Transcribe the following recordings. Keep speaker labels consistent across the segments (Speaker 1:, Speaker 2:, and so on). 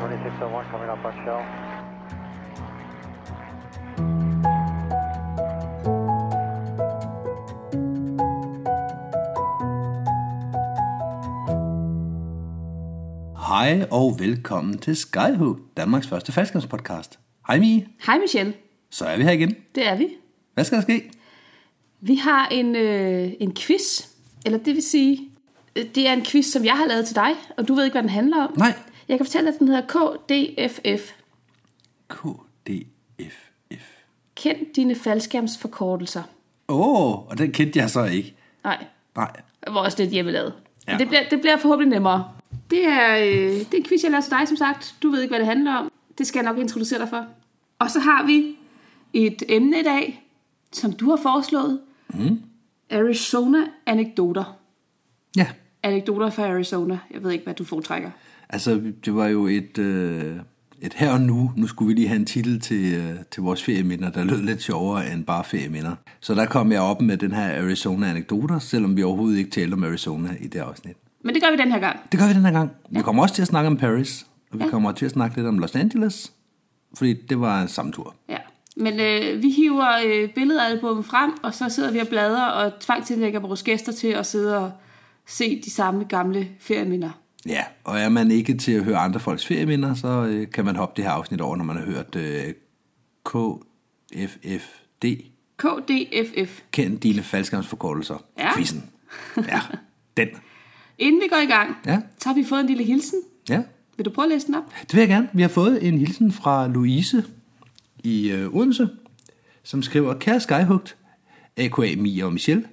Speaker 1: 2601 coming up on shell.
Speaker 2: Hej og velkommen til Skyhook, Danmarks første faldskærmspodcast. Hej Mie,
Speaker 3: Hej Michelle,
Speaker 2: så er vi her igen.
Speaker 3: det er vi.
Speaker 2: Hvad skal der ske?
Speaker 3: Vi har en, øh, en quiz, eller det vil sige, øh, det er en quiz, som jeg har lavet til dig, og du ved ikke, hvad den handler om.
Speaker 2: Nej.
Speaker 3: Jeg kan fortælle dig, at den hedder KDFF.
Speaker 2: KDFF.
Speaker 3: Kend dine faldskærmsforkortelser.
Speaker 2: Åh, oh, og den kendte jeg så ikke.
Speaker 3: Nej,
Speaker 2: Nej,
Speaker 3: hvor også lidt hjemmelavet.
Speaker 2: Ja.
Speaker 3: Ja. Det, bliver, det bliver forhåbentlig nemmere. Det er, øh, det er en quiz, jeg laver til dig, som sagt. Du ved ikke, hvad det handler om. Det skal jeg nok introducere dig for. Og så har vi et emne i dag, som du har foreslået. Mm. Arizona-anekdoter.
Speaker 2: ja.
Speaker 3: Anekdoter fra Arizona. Jeg ved ikke, hvad du foretrækker.
Speaker 2: Altså, det var jo et, øh, et her og nu. Nu skulle vi lige have en titel til, øh, til vores ferieminder, der lød lidt sjovere end bare ferieminder. Så der kom jeg op med den her Arizona-anekdoter, selvom vi overhovedet ikke talte om Arizona i det afsnit.
Speaker 3: Men det gør vi den her gang.
Speaker 2: Det gør vi den her gang. Vi kommer også til at snakke om Paris, og vi kommer til at snakke lidt om Los Angeles, fordi det var samme tur.
Speaker 3: Ja. Men øh, vi hiver øh, billedalbummet frem, og så sidder vi og bladrer og tvangtillægger vores gæster til at sidde og se de samme gamle ferieminder.
Speaker 2: Ja, og er man ikke til at høre andre folks ferieminder, så øh, kan man hoppe det her afsnit over, når man har hørt øh, KFFD.
Speaker 3: KDFF.
Speaker 2: Kend dine faldskærmsforkortelser.
Speaker 3: Ja.
Speaker 2: Quizzen. Ja, den.
Speaker 3: Inden vi går i gang,
Speaker 2: Ja.
Speaker 3: så har vi fået en lille hilsen.
Speaker 2: Ja,
Speaker 3: Vil du prøve at læse den op?
Speaker 2: det vil jeg gerne. Vi har fået en hilsen fra Louise i øh, Odense, som skriver, Kære Skyhugt, A.K.A. Mia og Michelle,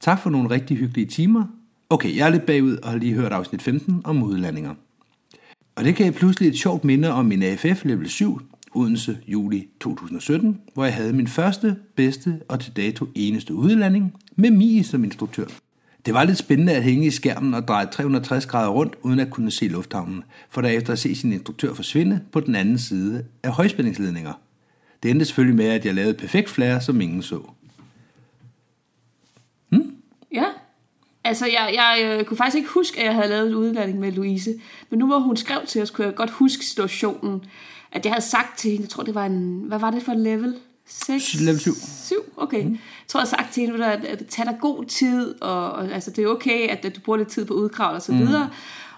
Speaker 2: tak for nogle rigtig hyggelige timer. Okay, jeg er lidt bagud og har lige hørt afsnit 15 om udlandinger. Og det gav pludselig et sjovt minde om min AFF Level 7, Odense juli 2017, hvor jeg havde min første, bedste og til dato eneste udlanding med Mie som instruktør. Det var lidt spændende at hænge i skærmen og dreje 360 grader rundt, uden at kunne se lufthavnen, for derefter at se sin instruktør forsvinde på den anden side af højspændingsledninger. Det endte selvfølgelig med, at jeg lavede et perfekt flare, som ingen så.
Speaker 3: Ja. Altså, jeg, jeg øh, kunne faktisk ikke huske, at jeg havde lavet en udlanding med Louise. Men nu hvor hun skrev til os, kunne jeg godt huske situationen. At jeg havde sagt til hende, jeg tror det var en, hvad var det for en level? 6?
Speaker 2: Level syv.
Speaker 3: 7, okay. Mm. Jeg tror, jeg har sagt til hende, at, at tag dig god tid, og, og altså, det er okay, at, at du bruger lidt tid på udkravl og så videre.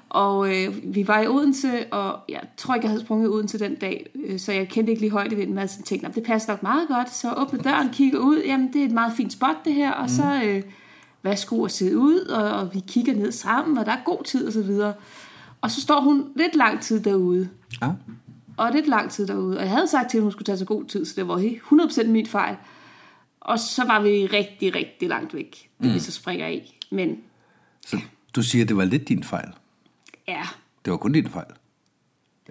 Speaker 3: Og øh, vi var i Odense, og jeg tror ikke, jeg havde sprunget i Odense den dag, øh, så jeg kendte ikke lige højdevinden, men jeg sådan tænkte, "Nå, det passer nok meget godt, så åbne døren, kigger ud, jamen det er et meget fint spot det her, og så øh, værsgo at sidde ud, og, og vi kigger ned sammen, og der er god tid og så videre. Og så står hun lidt lang tid derude,
Speaker 2: Ja.
Speaker 3: og lidt lang tid derude. Og jeg havde sagt til hende, hun skulle tage så god tid, så det var he- 100% min fejl. Og så var vi rigtig, rigtig langt væk, det
Speaker 2: Mm.
Speaker 3: vi så springer i. Men
Speaker 2: Så du siger, at det var lidt din fejl.
Speaker 3: ja,
Speaker 2: Det var kun din fejl.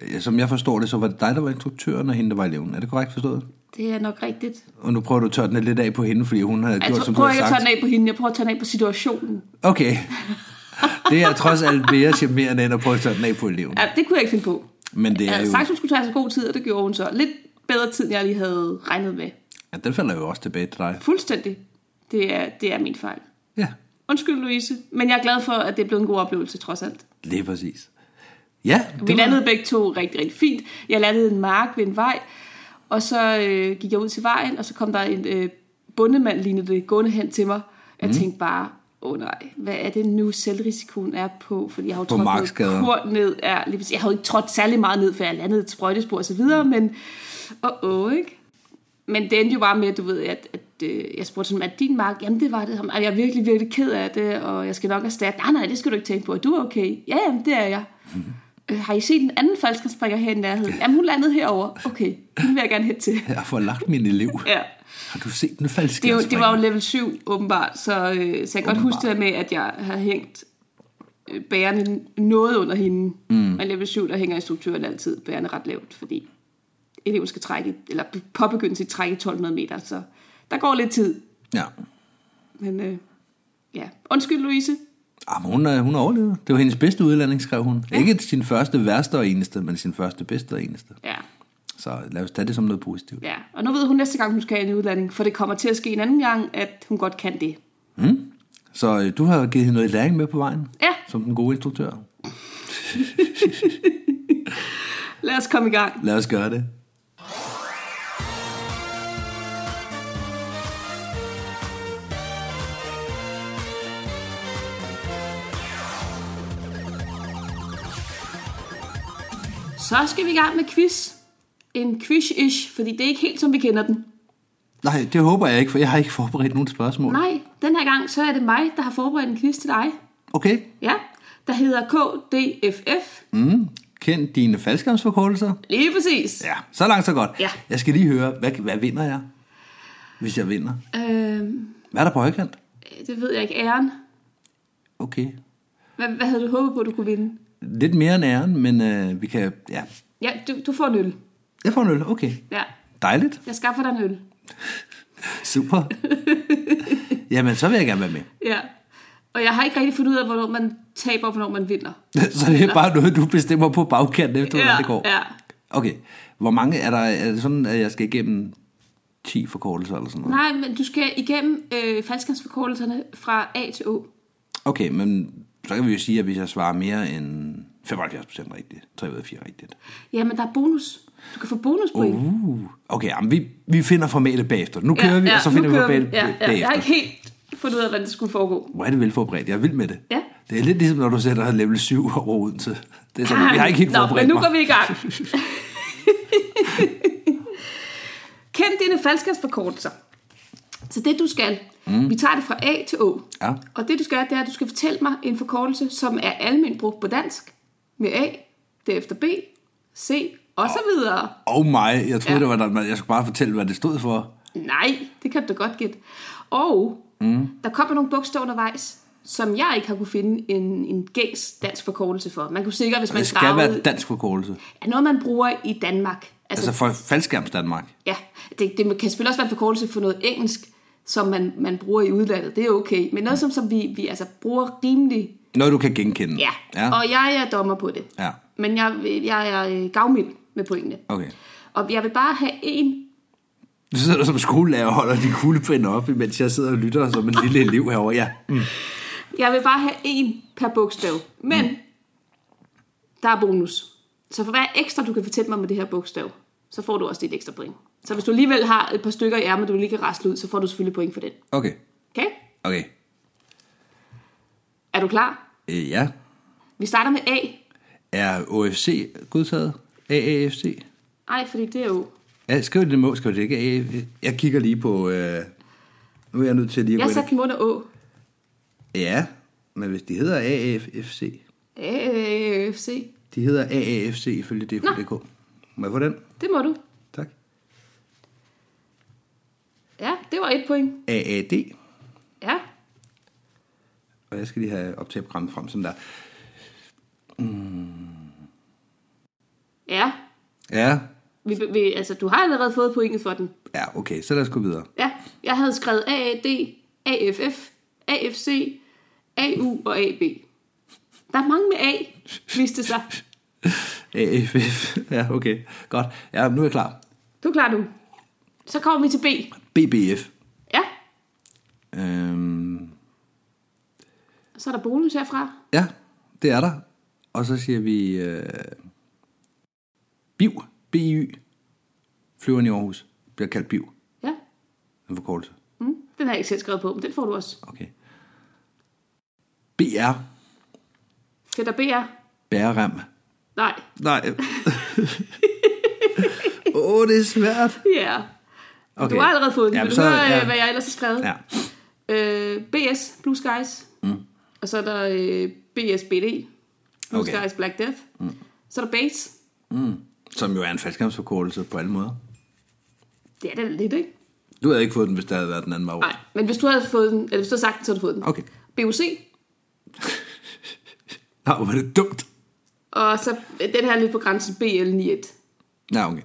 Speaker 2: Øh, Som jeg forstår det, så var det dig, der var instruktøren, og hende, der var eleven. Er det korrekt forstået?
Speaker 3: det er nok rigtigt.
Speaker 2: Og nu prøver du at tørre den lidt af på hende, fordi hun havde
Speaker 3: Jeg
Speaker 2: gjort,
Speaker 3: tror-
Speaker 2: som du
Speaker 3: prøver
Speaker 2: havde
Speaker 3: Altså, ikke at
Speaker 2: sagt.
Speaker 3: tørre den af på hende, jeg prøver at tørre den af på situationen.
Speaker 2: Okay. Det er trods alt mere charmerende, end at prøve at tørre den af på eleven.
Speaker 3: Ja, det kunne jeg ikke finde på.
Speaker 2: Men det
Speaker 3: Jeg
Speaker 2: er
Speaker 3: havde
Speaker 2: jo...
Speaker 3: sagt, hun skulle tage så god tid, og det gjorde hun så. Lidt bedre tid, end jeg lige havde regnet med.
Speaker 2: Ja, den falder jo også tilbage til dig.
Speaker 3: Fuldstændig. Det er, det er min fejl.
Speaker 2: Ja,
Speaker 3: Undskyld, Louise, men jeg er glad for, at det er blevet en god oplevelse, trods alt.
Speaker 2: lige præcis. Ja, det
Speaker 3: Vi
Speaker 2: var-
Speaker 3: landede begge to rigtig, rigtig fint. Jeg landede i en mark ved en vej, og så øh, gik jeg ud til vejen, og så kom der en øh, bundemand, lignede det, gående hen til mig. Jeg
Speaker 2: Mhm.
Speaker 3: mm. tænkte bare, åh oh, nej, hvad er det nu selvrisikoen er på? Fordi jeg har jo trådt
Speaker 2: markskader.
Speaker 3: noget kort ned. Ja, lige præcis. jeg har jo ikke trådt særlig meget ned, for jeg landede et sprøjtespor og så videre,
Speaker 2: Mhm.
Speaker 3: men åh, åh, ikke? Men det endte jo bare med, at du ved, at, at øh, jeg spurgte sådan, at din mark, jamen det var det, og jeg er virkelig, virkelig ked af det, og jeg skal nok erstatte. Nej, nej, det skal du ikke tænke på, du er okay. Ja, jamen, det er jeg. Øh, har I set en anden falskenspringer her i nærheden? Jamen, hun landede herover. Okay, den vil jeg gerne hen til.
Speaker 2: Jeg får lagt min elev.
Speaker 3: Ja.
Speaker 2: Har du set den falske?
Speaker 3: Det, er jo, det var jo level 7, åbenbart, så, øh, så jeg kan godt huske det der med, at jeg havde hængt øh, bærende noget under hende. Mm. Men level 7, der hænger instruktøren altid bærende ret lavt, fordi eleven skal trække, eller påbegynde sit træk i 1200 meter, så der går lidt tid.
Speaker 2: Ja.
Speaker 3: Men øh, ja, undskyld Louise.
Speaker 2: Ah, men hun, er, hun er overlevet. Det var hendes bedste udlanding, skrev hun. Ja. Ikke sin første værste og eneste, men sin første bedste og eneste.
Speaker 3: Ja,
Speaker 2: Så lad os tage det som noget positivt.
Speaker 3: ja. Og nu ved hun næste gang, hun skal i en udlanding, for det kommer til at ske en anden gang, at hun godt kan det.
Speaker 2: Så øh, du har givet hende noget læring med på vejen?
Speaker 3: Ja.
Speaker 2: Som den gode instruktør?
Speaker 3: Lad os komme i gang.
Speaker 2: Lad os gøre det.
Speaker 3: Så skal vi i gang med quiz. En quiz-ish, fordi det er ikke helt, som vi kender den.
Speaker 2: Nej, det håber jeg ikke, for jeg har ikke forberedt nogen spørgsmål.
Speaker 3: Nej, den her gang, så er det mig, der har forberedt en quiz til dig.
Speaker 2: Okay,
Speaker 3: Ja, der hedder KDFF.
Speaker 2: mm. kend dine faldskærmsforkortelser.
Speaker 3: Lige præcis.
Speaker 2: Ja, så langt så godt.
Speaker 3: Ja.
Speaker 2: Jeg skal lige høre, hvad, hvad vinder jeg, hvis jeg vinder?
Speaker 3: Øhm,
Speaker 2: Hvad er der på højkant?
Speaker 3: det ved jeg ikke. Æren.
Speaker 2: Okay.
Speaker 3: Hvad, hvad havde du håbet på, du kunne vinde?
Speaker 2: Lidt mere end æren, men øh, vi kan... Ja,
Speaker 3: Ja, du, du får en øl.
Speaker 2: jeg får en øl. Okay.
Speaker 3: Ja,
Speaker 2: Dejligt.
Speaker 3: jeg skaffer dig en øl.
Speaker 2: Super. Jamen, så vil jeg gerne være med.
Speaker 3: Ja. Og jeg har ikke rigtig fundet ud af, hvornår man taber, og hvornår man vinder.
Speaker 2: Så det er bare noget, du bestemmer på bagkanten efter, hvordan
Speaker 3: ja,
Speaker 2: det går.
Speaker 3: ja.
Speaker 2: Okay. Hvor mange er der? Er det sådan, at jeg skal igennem 10 forkortelser eller sådan noget?
Speaker 3: Nej, men du skal igennem øh, faldskabsforkortelserne fra A til Å.
Speaker 2: Okay, men så kan vi jo sige, at hvis jeg svarer mere end 75% rigtigt, 3 ud af 4 rigtigt.
Speaker 3: Ja, men der er bonus. Du kan få bonuspoint.
Speaker 2: Uh, okay, jamen, vi, vi finder formatet bagefter. Nu kører vi, og så
Speaker 3: nu
Speaker 2: finder vi
Speaker 3: kører
Speaker 2: formatet
Speaker 3: Ja, ja. Jeg
Speaker 2: bagefter.
Speaker 3: har ikke helt fundet ud af, hvordan det skulle foregå.
Speaker 2: Hvor er det velforberedt. Jeg er vild med det.
Speaker 3: Ja.
Speaker 2: Det er lidt ligesom, når du sætter level 7 over Odense. Det er sådan, jeg har ikke helt
Speaker 3: Nå,
Speaker 2: forberedt
Speaker 3: men nu
Speaker 2: mig.
Speaker 3: går vi i gang. Kend dine faldskabsforkortelser. Så det du skal, mm. vi tager det fra A til Å.
Speaker 2: Ja.
Speaker 3: Og det du skal, det er, at du skal fortælle mig en forkortelse, som er almindeligt brugt på dansk, med A, derefter B, C, og så videre.
Speaker 2: Oh my, jeg troede,
Speaker 3: Ja.
Speaker 2: ja. det var, der, jeg skulle bare fortælle, hvad det stod for.
Speaker 3: Nej, det kan du da godt gætte. Og mm. der kommer nogle bogstaver undervejs, som jeg ikke har kunne finde en, en gængs dansk forkortelse for. Man kunne sikkert, hvis man
Speaker 2: Det skal
Speaker 3: gravede...
Speaker 2: være dansk forkortelse.
Speaker 3: er noget, man bruger i Danmark. Altså,
Speaker 2: Altså
Speaker 3: altså
Speaker 2: for faldskærms Danmark.
Speaker 3: ja, det, det kan selvfølgelig også være en forkortelse for noget engelsk, som man, man bruger i udlandet. Det er okay. Men noget, som, som vi, vi altså bruger rimelig...
Speaker 2: Noget, du kan genkende.
Speaker 3: Ja.
Speaker 2: Ja,
Speaker 3: og jeg er dommer på det.
Speaker 2: ja.
Speaker 3: Men jeg, jeg er øh, gavmild med pointene.
Speaker 2: okay.
Speaker 3: Og jeg vil bare have en...
Speaker 2: Du sidder der som skolelærer og holder de kuglepinde op, mens jeg sidder og lytter som en lille elev herovre. Ja. Mm.
Speaker 3: Jeg vil bare have en per bogstav. Men mm. der er bonus. Så for hver ekstra, du kan fortælle mig med det her bogstav, så får du også dit ekstra point. Så hvis du alligevel har et par stykker i ærmet, du lige kan rasle ud, så får du selvfølgelig point for den.
Speaker 2: Okay,
Speaker 3: Okay?
Speaker 2: okay.
Speaker 3: Er du klar?
Speaker 2: Øh, ja.
Speaker 3: Vi starter med A.
Speaker 2: Er OFC godtaget? AAFC?
Speaker 3: Nej, fordi det er jo...
Speaker 2: Ja, skriv det må, skriv det ikke. AAFC. Jeg kigger lige på... Øh... Nu er jeg nødt til lige at
Speaker 3: Jeg
Speaker 2: gå ind.
Speaker 3: satte dem under Å.
Speaker 2: Ja, men hvis de hedder AAFC...
Speaker 3: AFC.
Speaker 2: De hedder AAFC ifølge DFDK. Må jeg få den?
Speaker 3: Det må du.
Speaker 2: Tak.
Speaker 3: Ja, det var et point.
Speaker 2: AAD.
Speaker 3: Ja.
Speaker 2: Og jeg skal lige have optaget programmet frem, som der.
Speaker 3: Ja.
Speaker 2: Ja,
Speaker 3: Vi, vi, altså, du har allerede fået pointet for den.
Speaker 2: ja, okay, så lad os gå videre.
Speaker 3: Ja. Jeg havde skrevet AAD, AFF, AFC, AU og AB. Der er mange med A, viste det sig.
Speaker 2: AFF. Ja, okay, godt. Ja, nu er jeg klar.
Speaker 3: Du er klar nu. Så kommer vi til B.
Speaker 2: BBF.
Speaker 3: Ja.
Speaker 2: Øhm,
Speaker 3: Så er der bonus herfra.
Speaker 2: ja, det er der. Og så siger vi... Øh, BIV. BIY. Flyveren i Aarhus bliver kaldt BIV.
Speaker 3: Ja.
Speaker 2: En forkortelse.
Speaker 3: Mm. Den har jeg ikke selv skrevet på, men den får du også.
Speaker 2: Okay. BR.
Speaker 3: Fedt og BR.
Speaker 2: Bærerem.
Speaker 3: Nej.
Speaker 2: Nej. Åh, oh, det er svært.
Speaker 3: Ja. Yeah. Okay. Du har allerede fået den.
Speaker 2: Jamen,
Speaker 3: Jamen, Vil du
Speaker 2: så-
Speaker 3: så, høre,
Speaker 2: ja.
Speaker 3: ja. hvad jeg ellers har skrevet?
Speaker 2: Ja.
Speaker 3: Øh, BS, Blue Skies. Mm. Og så er der øh, BSBD, Blue
Speaker 2: Okay.
Speaker 3: okay. Skies, Black Death. Mm. Så er der Base.
Speaker 2: Mm. Som jo er en faldskærmsforkortelse på alle måder.
Speaker 3: Det er da lidt, ikke?
Speaker 2: Du havde ikke fået den, hvis der havde været den anden vej rundt.
Speaker 3: Nej, men hvis du havde fået den, eller hvis du havde sagt den, så havde du fået den.
Speaker 2: Okay.
Speaker 3: BOC,
Speaker 2: Nå, hvor er det dumt.
Speaker 3: og så øh, den her lidt på grænsen, BL91.
Speaker 2: Nej, okay.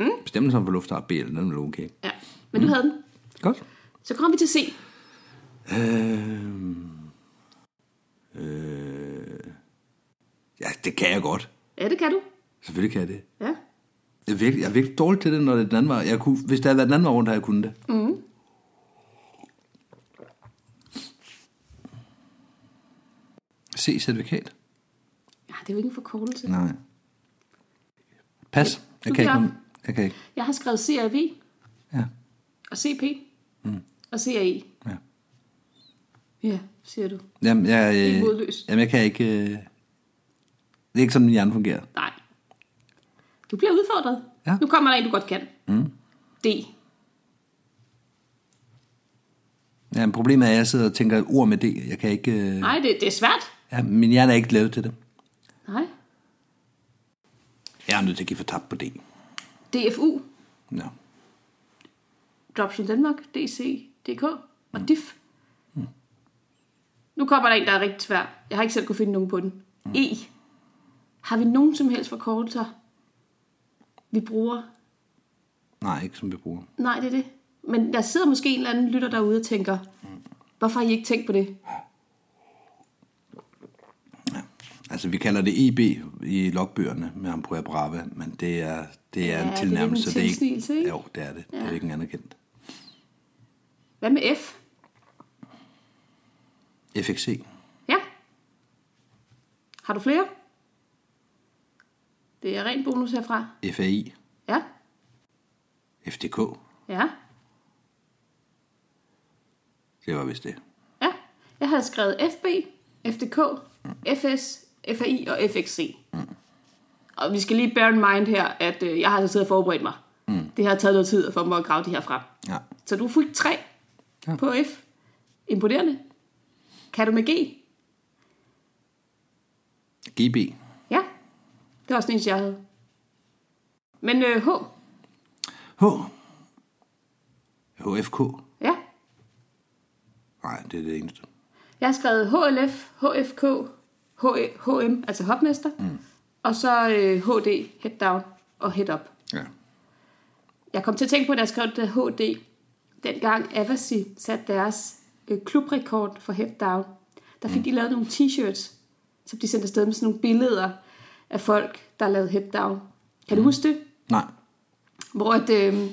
Speaker 2: Mm. Bestemmelsen for lufthavn BL, den er jo okay.
Speaker 3: Ja, men mm. du havde den.
Speaker 2: Godt.
Speaker 3: Så kommer vi til C.
Speaker 2: Øhm. Øh. Ja, det kan jeg godt.
Speaker 3: Ja, det kan du.
Speaker 2: Selvfølgelig kan jeg det.
Speaker 3: Ja.
Speaker 2: Jeg er virkelig, jeg er virkelig dårlig til det, når det er den anden vej. Jeg kunne, hvis det havde været den anden vej rundt, havde jeg kunnet det. Mm. Se certifikat?
Speaker 3: ja, det er jo ikke en forkortelse.
Speaker 2: Nej. Pas. Jeg kan,
Speaker 3: Du
Speaker 2: ikke,
Speaker 3: kan.
Speaker 2: nogen- jeg kan ikke.
Speaker 3: Jeg har skrevet CRV
Speaker 2: Ja.
Speaker 3: og CP
Speaker 2: Mm.
Speaker 3: og CAE.
Speaker 2: Ja.
Speaker 3: Ja, siger du.
Speaker 2: Jamen, jeg,
Speaker 3: er
Speaker 2: øh,
Speaker 3: modløst.
Speaker 2: jamen, jeg kan ikke... Øh, det er ikke sådan, min hjerne fungerer.
Speaker 3: Nej. Du bliver udfordret.
Speaker 2: Ja.
Speaker 3: Nu kommer der en, du godt kan. Mm. D.
Speaker 2: Jamen, problemet er, at jeg sidder og tænker ord med det. Jeg kan ikke... Øh,
Speaker 3: Nej, det, det er svært.
Speaker 2: ja, min hjerne er ikke lavet til det.
Speaker 3: Nej.
Speaker 2: Jeg er nødt til at give for tab på det.
Speaker 3: DFU.
Speaker 2: Nå.
Speaker 3: Dropshipping Danmark. DC. DK. Og DIF. Mm. Nu kommer der en, der er rigtig svær. Jeg har ikke selv kunne finde nogen på den. E. Har vi nogen som helst forkortelser, vi bruger?
Speaker 2: Nej, ikke som vi bruger.
Speaker 3: Nej, det er det. Men der sidder måske en eller anden lytter derude og tænker, hvorfor har I ikke tænkt på det?
Speaker 2: Altså, vi kalder det EB i logbøgerne med Ampere Brava, men det er, det er
Speaker 3: Ja, det er
Speaker 2: en
Speaker 3: lidt
Speaker 2: tilnærmelse.
Speaker 3: en
Speaker 2: det er
Speaker 3: tilsnigelse, ikke?
Speaker 2: Jo, det er det. Ja. Det er ikke en anerkendt.
Speaker 3: Hvad med F?
Speaker 2: FXC.
Speaker 3: Ja. Har du flere? Det er ren bonus herfra.
Speaker 2: FAI.
Speaker 3: Ja.
Speaker 2: FDK.
Speaker 3: Ja.
Speaker 2: Det var vist det.
Speaker 3: Ja. Jeg havde skrevet FB, FDK, FS, FAI og FXC. Og vi skal lige bear in mind her, at øh, jeg har altså siddet og forberedt mig. Mm. Det har taget noget tid for mig at grave de her frem.
Speaker 2: Ja.
Speaker 3: Så du fik tre
Speaker 2: Ja.
Speaker 3: ja. på F. Imponerende. Kan du med G?
Speaker 2: GB.
Speaker 3: Ja. Det var også den eneste, jeg havde. Men øh, H.
Speaker 2: H. HFK.
Speaker 3: Ja.
Speaker 2: Nej, det er det eneste.
Speaker 3: Jeg har skrevet HLF, HFK, H- HM, altså hopmester. Mm. Og så øh, HD, head down og head up.
Speaker 2: Ja.
Speaker 3: Jeg kom til at tænke på, da jeg skrev det der HD, dengang Avasi satte deres øh, klubrekord for head down, der fik mm. de lavet nogle t-shirts, som de sendte afsted med sådan nogle billeder af folk, der lavede head down. Kan mm. du huske det?
Speaker 2: Nej.
Speaker 3: Hvor at, øh,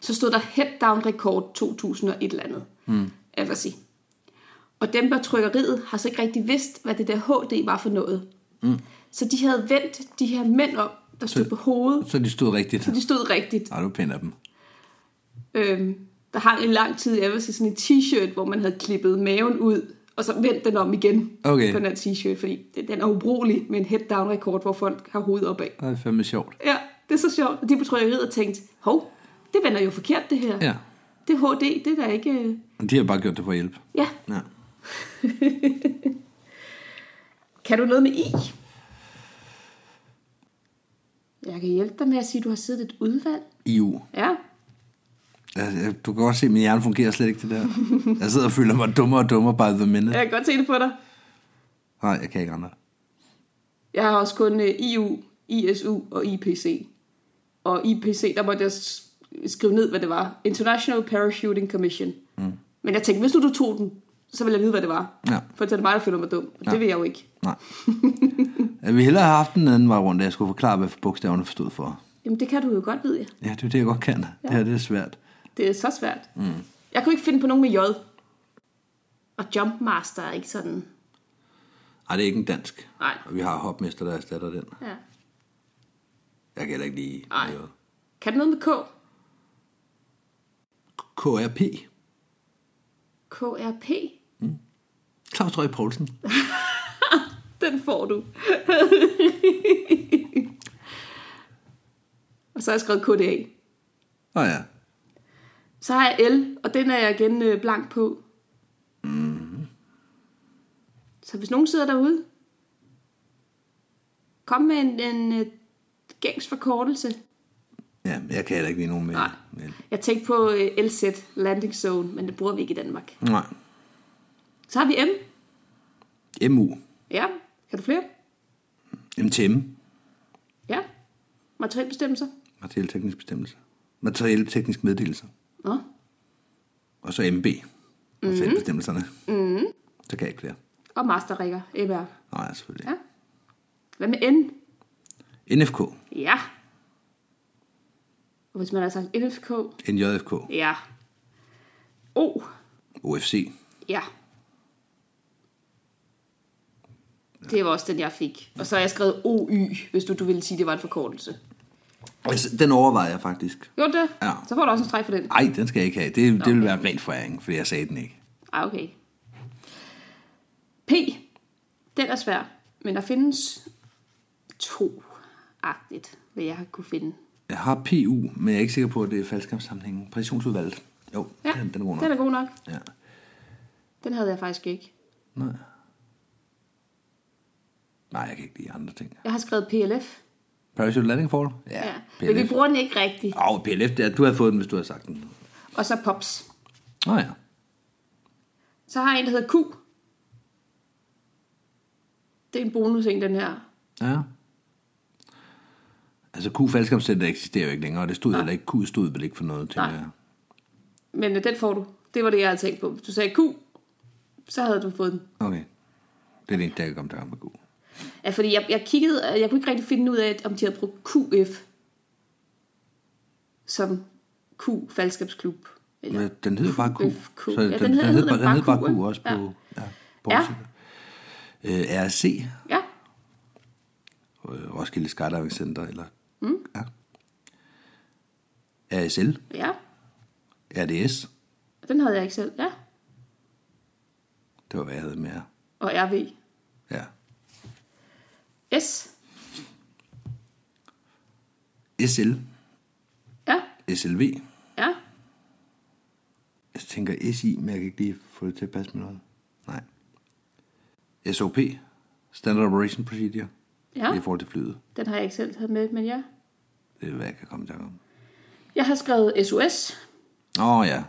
Speaker 3: så stod der head down rekord 2000 og et eller andet.
Speaker 2: Hmm.
Speaker 3: Mm. Avasi. Og dem på trykkeriet har så ikke rigtig vidst, hvad det der HD var for noget. Mm. Så de havde vendt de her mænd op, der stod på hovedet.
Speaker 2: Hmm. Så de stod rigtigt.
Speaker 3: De stod rigtigt.
Speaker 2: Nej, du er pæn af dem.
Speaker 3: Øhm, der hang en lang tid, jeg vil sige, sådan en t-shirt, hvor man havde klippet maven ud, og så vendt den om igen
Speaker 2: Okay.
Speaker 3: på den her t-shirt, fordi den den er ubrugelig med en head-down-rekord, hvor folk har hovedet opad.
Speaker 2: Det er fandme sjovt.
Speaker 3: Ja, det er så sjovt. Og de på trykkeriet og tænkte, hov, det vender jo forkert, det her.
Speaker 2: Ja.
Speaker 3: Det er HD, det er da ikke... øh,
Speaker 2: Men de har bare gjort det for at hjælpe.
Speaker 3: Ja,
Speaker 2: Ja.
Speaker 3: kan du noget med I? Jeg kan hjælpe dig med at sige, at du har siddet i et udvalg.
Speaker 2: EU.
Speaker 3: Ja,
Speaker 2: Altså, jeg- du kan godt se, at min hjerne fungerer slet ikke det der. Jeg sidder og føler mig dummere og dummere by the minute.
Speaker 3: jeg kan godt se det på dig.
Speaker 2: Nej, jeg kan ikke andre.
Speaker 3: Jeg har også kun øh, IU, ISU og IPC. Og IPC, der måtte jeg s- skrive ned, hvad det var. International Parachuting Commission. Mm. Men jeg tænkte, hvis nu du tog den, så ville jeg vide, hvad det var.
Speaker 2: Ja.
Speaker 3: For det er mig, der føler mig dum. Og ja. det vil jeg jo ikke.
Speaker 2: Nej. Jeg ville hellere have haft den anden vej rundt, at jeg skulle forklare, hvad bogstaverne forstod for.
Speaker 3: Jamen, det kan du jo godt vide, ja.
Speaker 2: Ja, det er det, jeg godt kan. Ja. Det her det er svært.
Speaker 3: Det er så svært. Mm. Jeg kunne ikke finde på nogen med J. Og Jumpmaster er ikke sådan...
Speaker 2: Nej, det er ikke en dansk.
Speaker 3: Nej.
Speaker 2: Og vi har hopmester, der erstatter den.
Speaker 3: Ja.
Speaker 2: Jeg kan heller ikke lide
Speaker 3: Nej.
Speaker 2: noget.
Speaker 3: Kan du noget med K?
Speaker 2: KRP.
Speaker 3: KRP?
Speaker 2: Claus Røg Poulsen.
Speaker 3: Den får du. og så har jeg skrevet KDA.
Speaker 2: Åh oh, ja.
Speaker 3: Så har jeg L, og den er jeg igen øh, blank på. Mm. Så hvis nogen sidder derude, kom med en, en øh, gængs forkortelse.
Speaker 2: Ja, men jeg kan heller ikke lide nogen med.
Speaker 3: Nej.
Speaker 2: Men-
Speaker 3: Jeg tænkte på øh, LZ, Landing Zone, men det bruger vi ikke i Danmark.
Speaker 2: Nej.
Speaker 3: Så har vi M.
Speaker 2: MU.
Speaker 3: Ja, kan du flere?
Speaker 2: MTM.
Speaker 3: Ja. Materielbestemmelser.
Speaker 2: Materielteknisk bestemmelse. Materielteknisk meddelelse.
Speaker 3: Nå.
Speaker 2: Og så MB.
Speaker 3: Mhm.
Speaker 2: Materielbestemmelserne. Mm-hmm. Så kan jeg ikke flere.
Speaker 3: Og Masterrækker, EBR.
Speaker 2: Nej, selvfølgelig.
Speaker 3: Ja. Hvad med N?
Speaker 2: Ja. NFK.
Speaker 3: Ja. Og hvis man har sagt NFK,
Speaker 2: NJFK.
Speaker 3: ja. O,
Speaker 2: OFC.
Speaker 3: ja. Det var også den, jeg fik. Og så har jeg skrevet OY, hvis du, du ville sige, det var en forkortelse.
Speaker 2: Altså, den overvejer jeg faktisk.
Speaker 3: Gjorde du det?
Speaker 2: Ja.
Speaker 3: Så får du også en streg for den.
Speaker 2: Ej, den skal jeg ikke have. Det, det vil være ren foræring, fordi jeg sagde den ikke.
Speaker 3: Ah, okay. P. Den er svær, men der findes to-agtigt, hvad jeg har kunne finde.
Speaker 2: Jeg har PU, men jeg er ikke sikker på, at det er faldskabssamlingen. Præcisionsudvalget. Jo, ja, den, den er god nok.
Speaker 3: Den er god nok.
Speaker 2: Ja.
Speaker 3: Den havde jeg faktisk ikke.
Speaker 2: Nej. Nej, jeg kan ikke lide andre ting.
Speaker 3: Jeg har skrevet PLF.
Speaker 2: Parachute Landing Fall? Ja,
Speaker 3: Ja.
Speaker 2: ja.
Speaker 3: Men vi
Speaker 2: PLF.
Speaker 3: bruger den ikke rigtigt.
Speaker 2: Åh, oh, PLF, det er, du havde fået den, hvis du havde sagt den.
Speaker 3: Og så POPS.
Speaker 2: Nå ja.
Speaker 3: Så har jeg en, der hedder Q. Det er en bonus en, den her.
Speaker 2: Ja. Altså, Q-faldskabscenter eksisterer jo ikke længere, og det stod heller ikke. Q stod vel ikke for noget, tænker
Speaker 3: Nej.
Speaker 2: jeg.
Speaker 3: Men øh, den får du. Det var det, jeg havde tænkt på. Hvis du sagde Q, så havde du fået den.
Speaker 2: Okay. Det er det eneste, jeg kan komme til at med Q.
Speaker 3: Ja, fordi jeg, jeg kiggede, og jeg kunne ikke rigtig finde ud af, om de havde brugt QF som Q-faldskabsklub. Eller,
Speaker 2: Men den hedder bare Q.
Speaker 3: F- Q. Ja, den
Speaker 2: den,
Speaker 3: hedder-
Speaker 2: hed,
Speaker 3: hedder
Speaker 2: bare, den
Speaker 3: bare
Speaker 2: hed bare Q,
Speaker 3: Q, ikke?
Speaker 2: også
Speaker 3: Ja.
Speaker 2: på, ja. på
Speaker 3: Ja.
Speaker 2: ja. Øh, RSC,
Speaker 3: ja,
Speaker 2: øh, Roskilde Skydiving Center, eller... Mm. Ja. RSL,
Speaker 3: ja.
Speaker 2: RDS,
Speaker 3: Den havde jeg ikke selv. Ja.
Speaker 2: det var, hvad jeg havde med jer.
Speaker 3: Og RV.
Speaker 2: Ja.
Speaker 3: S.
Speaker 2: SL,
Speaker 3: Ja,
Speaker 2: SLV.
Speaker 3: ja.
Speaker 2: Jeg tænker SI, men jeg kan ikke lige få det til at passe med noget. Nej. SOP, Standard Operation Procedure.
Speaker 3: Ja.
Speaker 2: Det er i forhold til flyet.
Speaker 3: Den har jeg ikke selv taget med, men ja.
Speaker 2: Det er, hvad jeg kan komme til at om.
Speaker 3: Jeg har skrevet SOS,
Speaker 2: Åh oh, ja,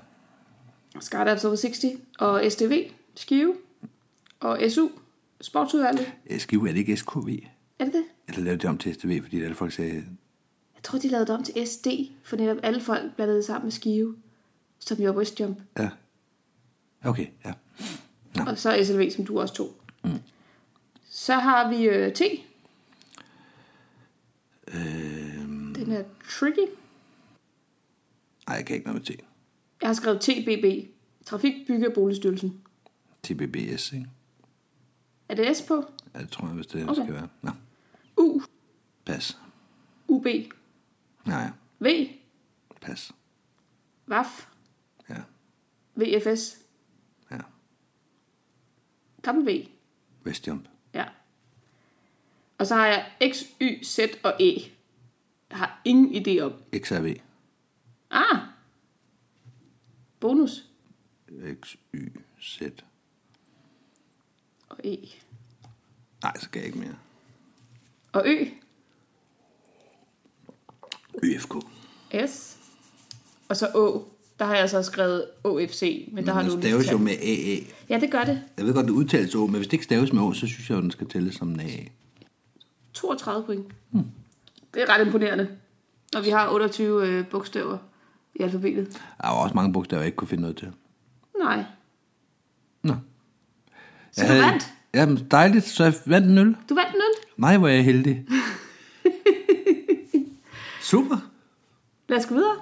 Speaker 3: Startups Over 60, og STV, Skive, og SU, Sportsudvalget.
Speaker 2: Skive, er det ikke SKV?
Speaker 3: Er det det?
Speaker 2: Eller lavede de om til STV, fordi alle folk sagde,
Speaker 3: Jeg tror, de lavede det om til SD, for netop alle folk blandede sammen med Skive, som jo er Westjump.
Speaker 2: ja. Okay, ja.
Speaker 3: Og så SLV, som du også tog. Mm. Så har vi øh, T.
Speaker 2: Øhm,
Speaker 3: Den er tricky.
Speaker 2: nej, jeg kan ikke noget med T.
Speaker 3: Jeg har skrevet TBB. Trafik, Bygge og Boligstyrelsen.
Speaker 2: TBBS, ikke?
Speaker 3: Er det S på?
Speaker 2: Ja, det tror jeg, hvis det
Speaker 3: Okay.
Speaker 2: okay. skal være. Nå,
Speaker 3: U,
Speaker 2: pas.
Speaker 3: UB,
Speaker 2: Nej,
Speaker 3: V,
Speaker 2: pas.
Speaker 3: VAF,
Speaker 2: Ja,
Speaker 3: VFS,
Speaker 2: ja.
Speaker 3: W.
Speaker 2: Vestjump.
Speaker 3: Ja. Og så har jeg X, Y, Z og E. Jeg har ingen idé om.
Speaker 2: XRV.
Speaker 3: Ah! Bonus
Speaker 2: X, Y, Z.
Speaker 3: og E.
Speaker 2: Nej, så kan jeg ikke mere.
Speaker 3: Og Ø,
Speaker 2: YFK.
Speaker 3: S. Og så Å. Der har jeg så skrevet OFC, men der har du...
Speaker 2: Den staves jo med AA.
Speaker 3: Ja, det gør det.
Speaker 2: Jeg ved godt, det udtales Å, men hvis det ikke staves med Å, så synes jeg, jo, den skal tælles som en AA.
Speaker 3: 32 point. Hmm. Det er ret imponerende. Og vi har 28 øh, bogstaver i alfabetet.
Speaker 2: Der var også mange bogstaver, jeg ikke kunne finde noget til.
Speaker 3: Nej.
Speaker 2: Nå.
Speaker 3: Så
Speaker 2: Jeg
Speaker 3: du
Speaker 2: havde-
Speaker 3: vandt.
Speaker 2: Jamen, dejligt. Så jeg vandt en øl.
Speaker 3: Du vandt den.
Speaker 2: Nej, hvor er jeg heldig. Super.
Speaker 3: Lad os gå videre.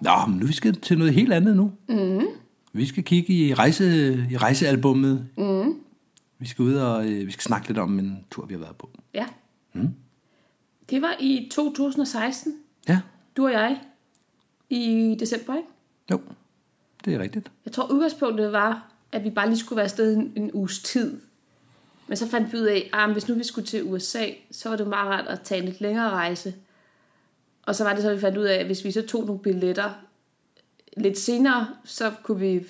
Speaker 2: Nå, men nu skal vi til noget helt andet nu. Mm.
Speaker 3: Mm-hmm.
Speaker 2: Vi skal kigge i, rejse, i rejsealbummet. Mm.
Speaker 3: Mm-hmm.
Speaker 2: Vi skal ud og øh, vi skal snakke lidt om en tur, vi har været på.
Speaker 3: Ja. Hmm. Det var i 2016,
Speaker 2: Ja,
Speaker 3: du og jeg, i december, ikke?
Speaker 2: jo. Det er rigtigt.
Speaker 3: Jeg tror, udgangspunktet var, at vi bare lige skulle være afsted en, en uges tid. Men så fandt vi ud af, at hvis nu vi skulle til USA, så var det meget rart at tage en lidt længere rejse. Og så var det så, at vi fandt ud af, at hvis vi så tog nogle billetter lidt senere, så kunne vi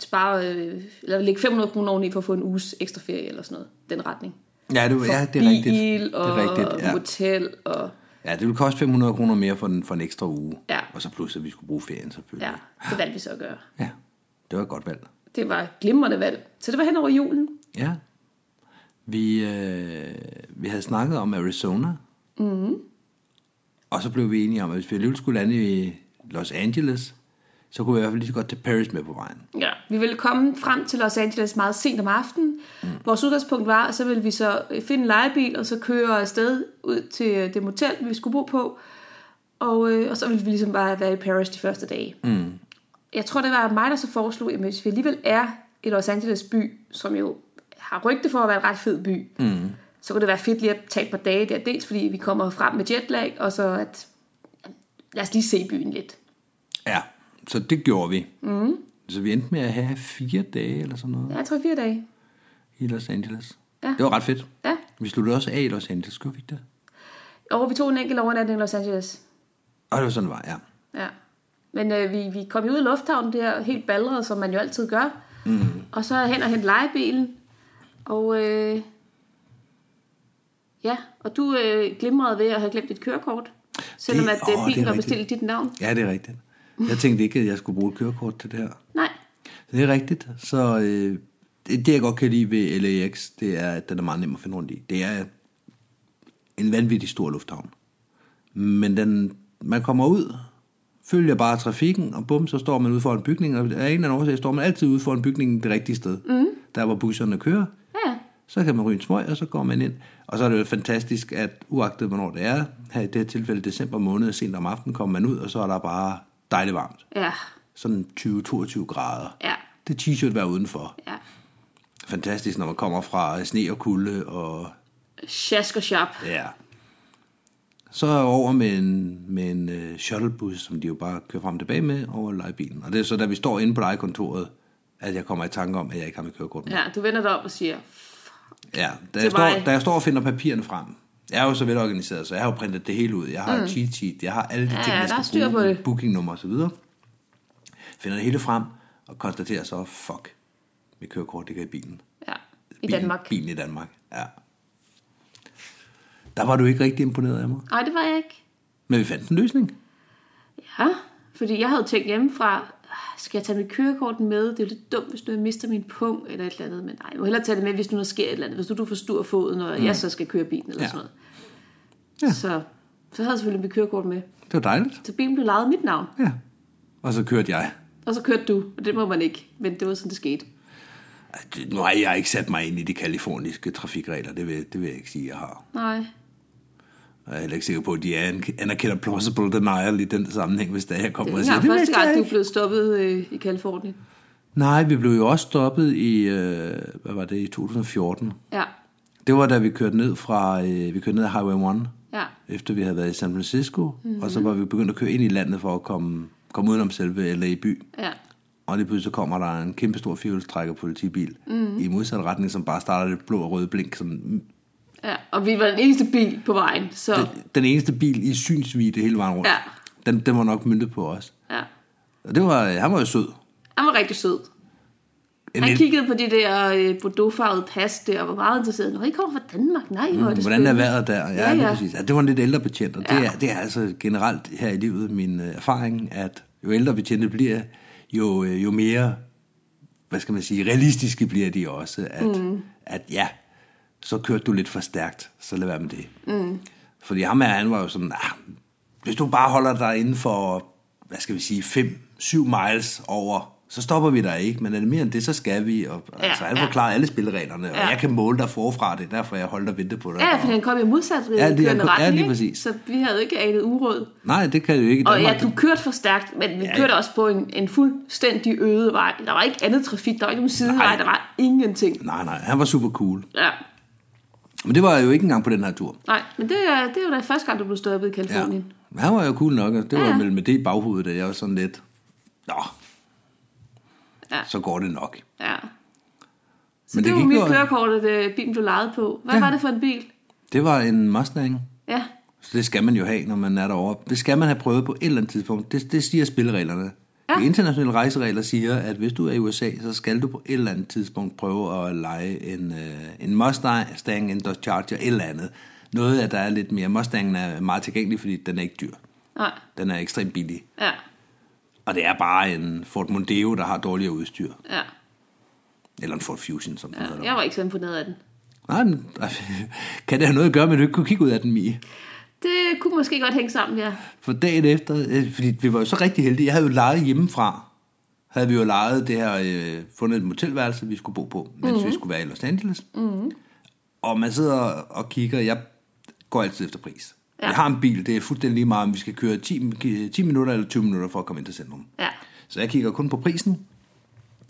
Speaker 3: spare, øh, eller lægge 500 kroner oveni for at få en uges ekstra ferie eller sådan noget. Den retning.
Speaker 2: Ja, det, ja, det er
Speaker 3: Bil
Speaker 2: rigtigt.
Speaker 3: og
Speaker 2: det er rigtigt, ja.
Speaker 3: hotel og...
Speaker 2: ja, det ville koste 500 kroner mere for en, for en ekstra uge.
Speaker 3: Ja.
Speaker 2: Og så plus, at vi skulle bruge ferien selvfølgelig.
Speaker 3: Ja, det valgte vi så at gøre.
Speaker 2: ja. Det var et godt valg.
Speaker 3: Det var et glimrende valg. Så det var hen over julen.
Speaker 2: Ja. Vi, øh, vi havde snakket om Arizona. Mm.
Speaker 3: Mm-hmm.
Speaker 2: Og så blev vi enige om, at hvis vi alligevel skulle lande i Los Angeles, så kunne vi i hvert fald lige så godt tage Paris med på vejen.
Speaker 3: Ja. Vi ville komme frem til Los Angeles meget sent om aftenen. Mm. Vores udgangspunkt var, at så ville vi så finde en lejebil, og så køre afsted ud til øh, det motel, vi skulle bo på. Og, øh, og så ville vi ligesom bare være i Paris de første dage. Mm. Jeg tror, det var mig, der så foreslog, at hvis vi alligevel er i Los Angeles by, som jo har rygte for at være en ret fed by, mm. så kunne det være fedt lige at tage et par dage der. Dels fordi vi kommer frem med jetlag, og så at lad os lige se byen lidt.
Speaker 2: Ja, så det gjorde vi. Mm. Så vi endte med at have fire dage eller sådan noget
Speaker 3: Mm-hmm. Ja, jeg tror fire dage.
Speaker 2: i Los Angeles.
Speaker 3: Ja.
Speaker 2: Det var ret fedt.
Speaker 3: Ja.
Speaker 2: Vi sluttede også af i Los Angeles, gjorde vi ikke det?
Speaker 3: Og vi tog en enkelt overnatning i Los Angeles.
Speaker 2: Og det var sådan, det var, ja.
Speaker 3: Ja. Men øh, vi, vi kom jo ud i lufthavnen der, helt ballret, som man jo altid gør. Mm. Og så hen og hente legebilen. Og øh, ja, og du øh, glimrede ved at have glemt dit kørekort. Selvom
Speaker 2: Det-
Speaker 3: det, at
Speaker 2: åh, det
Speaker 3: øh, bilen
Speaker 2: er
Speaker 3: var
Speaker 2: rigtigt.
Speaker 3: bestilt i dit navn.
Speaker 2: Ja, det er rigtigt. Jeg tænkte ikke, at jeg skulle bruge et kørekort til det her.
Speaker 3: Nej,
Speaker 2: Så det er rigtigt. Så øh, det, det, jeg godt kan lide ved LAX, det er, at den er meget nem at finde rundt i. Det er en vanvittig stor lufthavn. Men den, man kommer ud, følger bare trafikken, og bum, så står man ude for en bygning. Og af en eller anden årsag står man altid ude for en bygning det rigtige sted. Mm. Der, hvor busserne kører.
Speaker 3: ja,
Speaker 2: Så kan man ryge en smøg, og så går man ind. Og så er det jo fantastisk, at uagtet hvornår det er, her i det her tilfælde december måned, sent om aftenen, kommer man ud, og så er der bare dejligt varmt.
Speaker 3: ja,
Speaker 2: Sådan 20-22 grader.
Speaker 3: ja,
Speaker 2: Det er t-shirt være udenfor.
Speaker 3: ja.
Speaker 2: Fantastisk, når man kommer fra sne og kulde og
Speaker 3: Sjask og shop.
Speaker 2: ja. Så er jeg over med en, med en uh, shuttlebus, som de jo bare kører frem og tilbage med over lejebilen. Og det er så, da vi står inde på lejekontoret, at jeg kommer i tanke om, at jeg ikke har mit kørekort med.
Speaker 3: Ja, du vender dig om og siger,
Speaker 2: Ja, da
Speaker 3: er
Speaker 2: jeg, står,
Speaker 3: mig.
Speaker 2: da jeg står og finder papirerne frem, jeg er jo så velorganiseret, så jeg har jo printet det hele ud. Jeg har mm. et cheat sheet, jeg har alle de
Speaker 3: Ja,
Speaker 2: ting,
Speaker 3: ja,
Speaker 2: jeg
Speaker 3: der er
Speaker 2: skal
Speaker 3: styr på
Speaker 2: bruge,
Speaker 3: det.
Speaker 2: bookingnummer og så videre. Finder det hele frem og konstaterer så, fuck, mit kørekort ligger i bilen.
Speaker 3: ja, i Danmark.
Speaker 2: Bilen i Danmark, ja. Der var du ikke rigtig imponeret af mig.
Speaker 3: Nej, det var jeg ikke.
Speaker 2: Men vi fandt en løsning.
Speaker 3: Ja, fordi jeg havde tænkt hjemmefra, "Ah, skal jeg tage mit kørekort med? Det er jo lidt dumt, hvis nu jeg mister min pung eller et eller andet. Men nej, jeg må hellere tage det med, hvis nu der sker et eller andet. Hvis nu du forstuer foden, og mm. jeg så skal køre bilen eller
Speaker 2: Ja.
Speaker 3: ja. sådan noget.
Speaker 2: Ja.
Speaker 3: Ja. Så, så havde jeg selvfølgelig mit kørekort med.
Speaker 2: Det var dejligt.
Speaker 3: Så bilen blev lejet mit navn,
Speaker 2: Ja. Og så kørte jeg.
Speaker 3: og så kørte du. Og det må man ikke, men det var sådan, det skete.
Speaker 2: Ej, det- Nu har jeg ikke sat mig ind i de kaliforniske trafikregler. Det vil, det vil jeg ikke sige, jeg har.
Speaker 3: Nej,
Speaker 2: Og jeg er heller ikke sikker på, at de an- anerkender plausible denial i den sammenhæng, hvis der jeg
Speaker 3: det
Speaker 2: kommer
Speaker 3: er
Speaker 2: og
Speaker 3: ikke
Speaker 2: siger,
Speaker 3: engang
Speaker 2: det vidste
Speaker 3: første
Speaker 2: jeg
Speaker 3: gang, du
Speaker 2: ikke."
Speaker 3: blev stoppet øh, i Kalifornien.
Speaker 2: Nej, vi blev jo også stoppet i, øh, hvad var det, i 2014.
Speaker 3: Ja,
Speaker 2: Det var da vi kørte ned fra, øh, vi kørte ned ad Highway 1,
Speaker 3: ja,
Speaker 2: efter vi havde været i San Francisco, mm-hmm.
Speaker 3: Mhm.
Speaker 2: og så var vi begyndt at køre ind i landet for at komme, komme udenom selve LA by.
Speaker 3: ja.
Speaker 2: Og lige pludselig så kommer der en kæmpe stor firehjulstrækker politibil
Speaker 3: Mhm.
Speaker 2: mm. i modsat retning, som bare starter det blå og røde blink. Sådan,
Speaker 3: Ja, og vi var den eneste bil på vejen, så
Speaker 2: den, den eneste bil i synsvide hele vejen rundt.
Speaker 3: Ja.
Speaker 2: Den, den var nok myndet på os.
Speaker 3: ja.
Speaker 2: Og det var, øh, han var jo sød.
Speaker 3: Han var rigtig sød.
Speaker 2: En
Speaker 3: Han
Speaker 2: lidt-
Speaker 3: kiggede på de der øh, bordeauxfarvede pas der, og var meget interesseret. Nå, I kommer fra Danmark? Nej, hvor er det
Speaker 2: Mm, Hvordan er
Speaker 3: spændende.
Speaker 2: vejret der? Ja, ja,
Speaker 3: Ja,
Speaker 2: ja.
Speaker 3: ja.
Speaker 2: præcis. Ja, det var en lidt ældre betjent, og det,
Speaker 3: Ja.
Speaker 2: er, det er altså generelt her i livet min øh, erfaring, at jo ældre betjente bliver, jo, øh, jo mere, hvad skal man sige, realistiske bliver de også, at, mm. at ja, så kørte du lidt for stærkt, så lad være med det. Mm. Fordi ham her, han var jo sådan, ah, hvis du bare holder dig inden for, hvad skal vi sige, 5-7 miles over, så stopper vi dig ikke, men er det mere end det, så skal vi. Og, ja,
Speaker 3: Ja,
Speaker 2: altså, han
Speaker 3: ja.
Speaker 2: forklarede alle spillereglerne, og
Speaker 3: Ja.
Speaker 2: jeg kan måle dig forfra, det er derfor, jeg holdt og ventede på dig.
Speaker 3: Ja,
Speaker 2: Og-
Speaker 3: for han kom i modsat
Speaker 2: Ja,
Speaker 3: ja,
Speaker 2: lige-
Speaker 3: kørende
Speaker 2: ja,
Speaker 3: retning,
Speaker 2: lige
Speaker 3: ikke?
Speaker 2: præcis.
Speaker 3: så vi havde ikke anet uråd.
Speaker 2: Nej, det kan det jo ikke i
Speaker 3: Og
Speaker 2: Danmark.
Speaker 3: ja, du kørte for stærkt, men vi
Speaker 2: Ja,
Speaker 3: ja, kørte
Speaker 2: ja.
Speaker 3: også på en, en fuldstændig øde vej. Der var ikke andet trafik, der var ikke nogen sidevej,
Speaker 2: Nej.
Speaker 3: der var ingenting.
Speaker 2: Nej, nej, han var super cool.
Speaker 3: Ja,
Speaker 2: Men det var jeg jo ikke engang på den her tur.
Speaker 3: nej, men det, er- det var da første gang, du blev stoppet i
Speaker 2: Ja.
Speaker 3: Kalifornien. Ja.
Speaker 2: Men han var jo cool nok, og det var
Speaker 3: Ja.
Speaker 2: ja. med det i baghovedet, at jeg var sådan lidt, nå,
Speaker 3: Ja.
Speaker 2: så går det nok.
Speaker 3: Ja. Så
Speaker 2: Men det
Speaker 3: men det, det var
Speaker 2: gik
Speaker 3: mit
Speaker 2: jo-
Speaker 3: kørekort, at øh, bilen blev lejet på. Hvad
Speaker 2: Ja.
Speaker 3: ja. var det for en bil?
Speaker 2: Det var en Mustang,
Speaker 3: Ja,
Speaker 2: så det skal man jo have, når man er derovre. Det skal man have prøvet på et eller andet tidspunkt. Det, det siger spillereglerne.
Speaker 3: Ja.
Speaker 2: De internationale rejseregler siger, at hvis du er i USA, så skal du på et eller andet tidspunkt prøve at lege en, øh, en Mustang, Stang, en Dodge Charger, et eller andet. Noget, at der er lidt mere. Mustangen er meget tilgængelig, fordi den er ikke dyr.
Speaker 3: nej,
Speaker 2: Den er ekstremt billig.
Speaker 3: ja,
Speaker 2: Og det er bare en Ford Mondeo, der har dårligere udstyr.
Speaker 3: ja.
Speaker 2: Eller en Ford Fusion, som den ja, hedder.
Speaker 3: Jeg var ikke så imponeret af den.
Speaker 2: Nej, men, kan det have noget at gøre med, at du ikke kunne kigge ud af den, Mie?
Speaker 3: Det kunne måske godt hænge sammen, ja.
Speaker 2: For dagen efter, øh, fordi vi var jo så rigtig heldige, jeg havde jo lejet hjemmefra, havde vi jo lejet det her, øh, fundet et motelværelse, vi skulle bo på, mens
Speaker 3: Mhm.
Speaker 2: mm-hmm. vi skulle være i Los Angeles. Mm-hmm. Og man sidder og kigger, jeg går altid efter pris. Ja.
Speaker 3: Ja.
Speaker 2: Jeg har en bil, det er fuldstændig lige meget, om vi skal køre 10, 10 minutter eller 20 minutter for at komme ind til centrum.
Speaker 3: Ja,
Speaker 2: Så jeg kigger kun på prisen,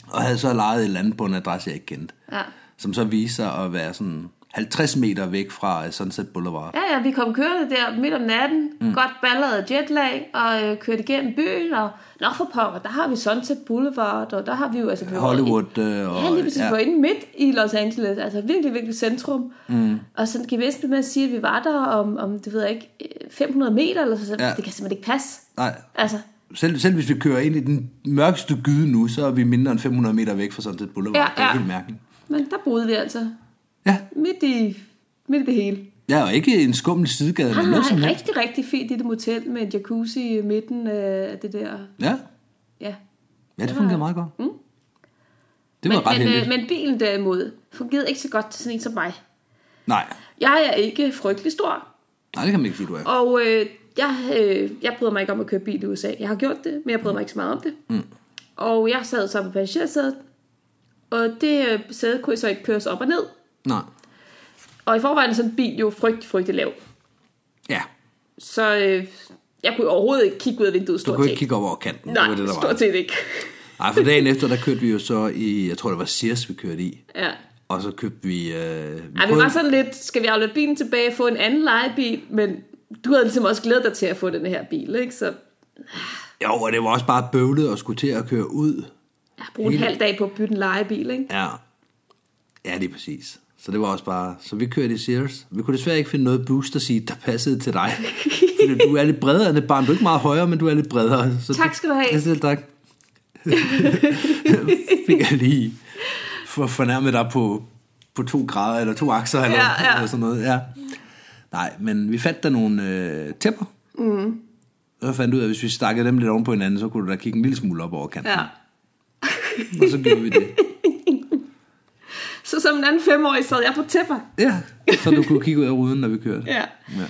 Speaker 2: og havde så lejet et eller andet på en adresse, jeg ikke kendte.
Speaker 3: ja,
Speaker 2: som så viser sig at være sådan 50 meter væk fra øh, Sunset Boulevard.
Speaker 3: Ja, ja, vi kom kørende der midt om natten, mm. godt ballade jetlag, og øh, kørte igennem byen, og nå for pokker, der har vi Sunset Boulevard, og der har vi jo... Altså, vi var
Speaker 2: Hollywood øh,
Speaker 3: i-
Speaker 2: og...
Speaker 3: Ja, lige præcis, vi var inde midt i Los Angeles, altså virkelig, virkelig centrum. Mm. Og sådan kan vi næsten blive med at sige, at vi var der om, om det ved jeg ikke, øh, 500 meter, eller sådan,
Speaker 2: Ja.
Speaker 3: ja. det kan simpelthen ikke passe.
Speaker 2: Nej,
Speaker 3: Altså,
Speaker 2: selv, selv hvis vi kører ind i den mørkeste gyde nu, så er vi mindre end 500 meter væk fra Sunset Boulevard.
Speaker 3: Ja,
Speaker 2: Det er
Speaker 3: ja.
Speaker 2: helt mærkeligt.
Speaker 3: men der boede vi altså
Speaker 2: Ja,
Speaker 3: midt i, midt i det hele.
Speaker 2: jeg er jo ikke en skummel sidegade
Speaker 3: Han
Speaker 2: eller noget som
Speaker 3: har et
Speaker 2: helst.
Speaker 3: Ah, rigtig, rigtig fint lille motel med en jacuzzi i midten af det der,
Speaker 2: Ja,
Speaker 3: ja.
Speaker 2: ja det fungerede meget godt. Mm. Det var
Speaker 3: Men,
Speaker 2: ret
Speaker 3: men,
Speaker 2: heldigt.
Speaker 3: øh, men bilen derimod fungerede ikke så godt til sådan en som mig.
Speaker 2: Nej.
Speaker 3: Jeg er ikke frygtelig stor,
Speaker 2: Nej, det kan man ikke sige, du er.
Speaker 3: og øh, jeg, øh, jeg bryder mig ikke om at køre bil i USA. Jeg har gjort det, men jeg bryder mig ikke så meget om det. Mm. Og jeg sad så på passagersædet, og det øh, sæde kunne jeg så ikke køres op og ned.
Speaker 2: Nej.
Speaker 3: Og i forvejen er sådan en bil jo frygtelig, frygtelig lav.
Speaker 2: Ja,
Speaker 3: Så øh, jeg kunne overhovedet ikke kigge ud af vinduet,
Speaker 2: du
Speaker 3: stort
Speaker 2: kunne
Speaker 3: set.
Speaker 2: ikke kigge op over kanten. det
Speaker 3: Nej,
Speaker 2: var det, der var.
Speaker 3: stort set ikke.
Speaker 2: Nej, for dagen efter, der kørte vi jo så i, jeg tror det var Sears, vi kørte i.
Speaker 3: ja.
Speaker 2: Og så købte vi... Øh,
Speaker 3: Ej, vi var sådan lidt, skal vi aflevere bilen tilbage og få en anden lejebil, men du havde ligesom også glædet dig til at få den her bil, ikke? Så
Speaker 2: Jo, og det var også bare bøvlet at skulle til at køre ud.
Speaker 3: jeg har brugt en halv dag på at bytte en lejebil, ikke?
Speaker 2: Ja. Ja, det er præcis. Så det var også bare... Så vi kørte i Sears. Vi kunne desværre ikke finde noget booster seat, der passede til dig. Fordi du er lidt bredere end et barn. Du er ikke meget højere, men du er lidt bredere. Så
Speaker 3: Tak skal du have.
Speaker 2: Ja, selv tak. Fik jeg lige for fornærmet dig på, på to grader, eller to akser, eller,
Speaker 3: Ja, ja.
Speaker 2: eller sådan noget. Ja. Nej, men vi fandt der nogle øh, tæpper. Mm. Så fandt vi ud af, at hvis vi stakkede dem lidt oven på hinanden, så kunne du da kigge en lille smule op over kanten.
Speaker 3: Ja.
Speaker 2: Og så gjorde vi det.
Speaker 3: Så som en anden femårig sad jeg på tæpper.
Speaker 2: Ja, så du kunne kigge ud af ruden, når vi kørte.
Speaker 3: Ja.
Speaker 2: ja.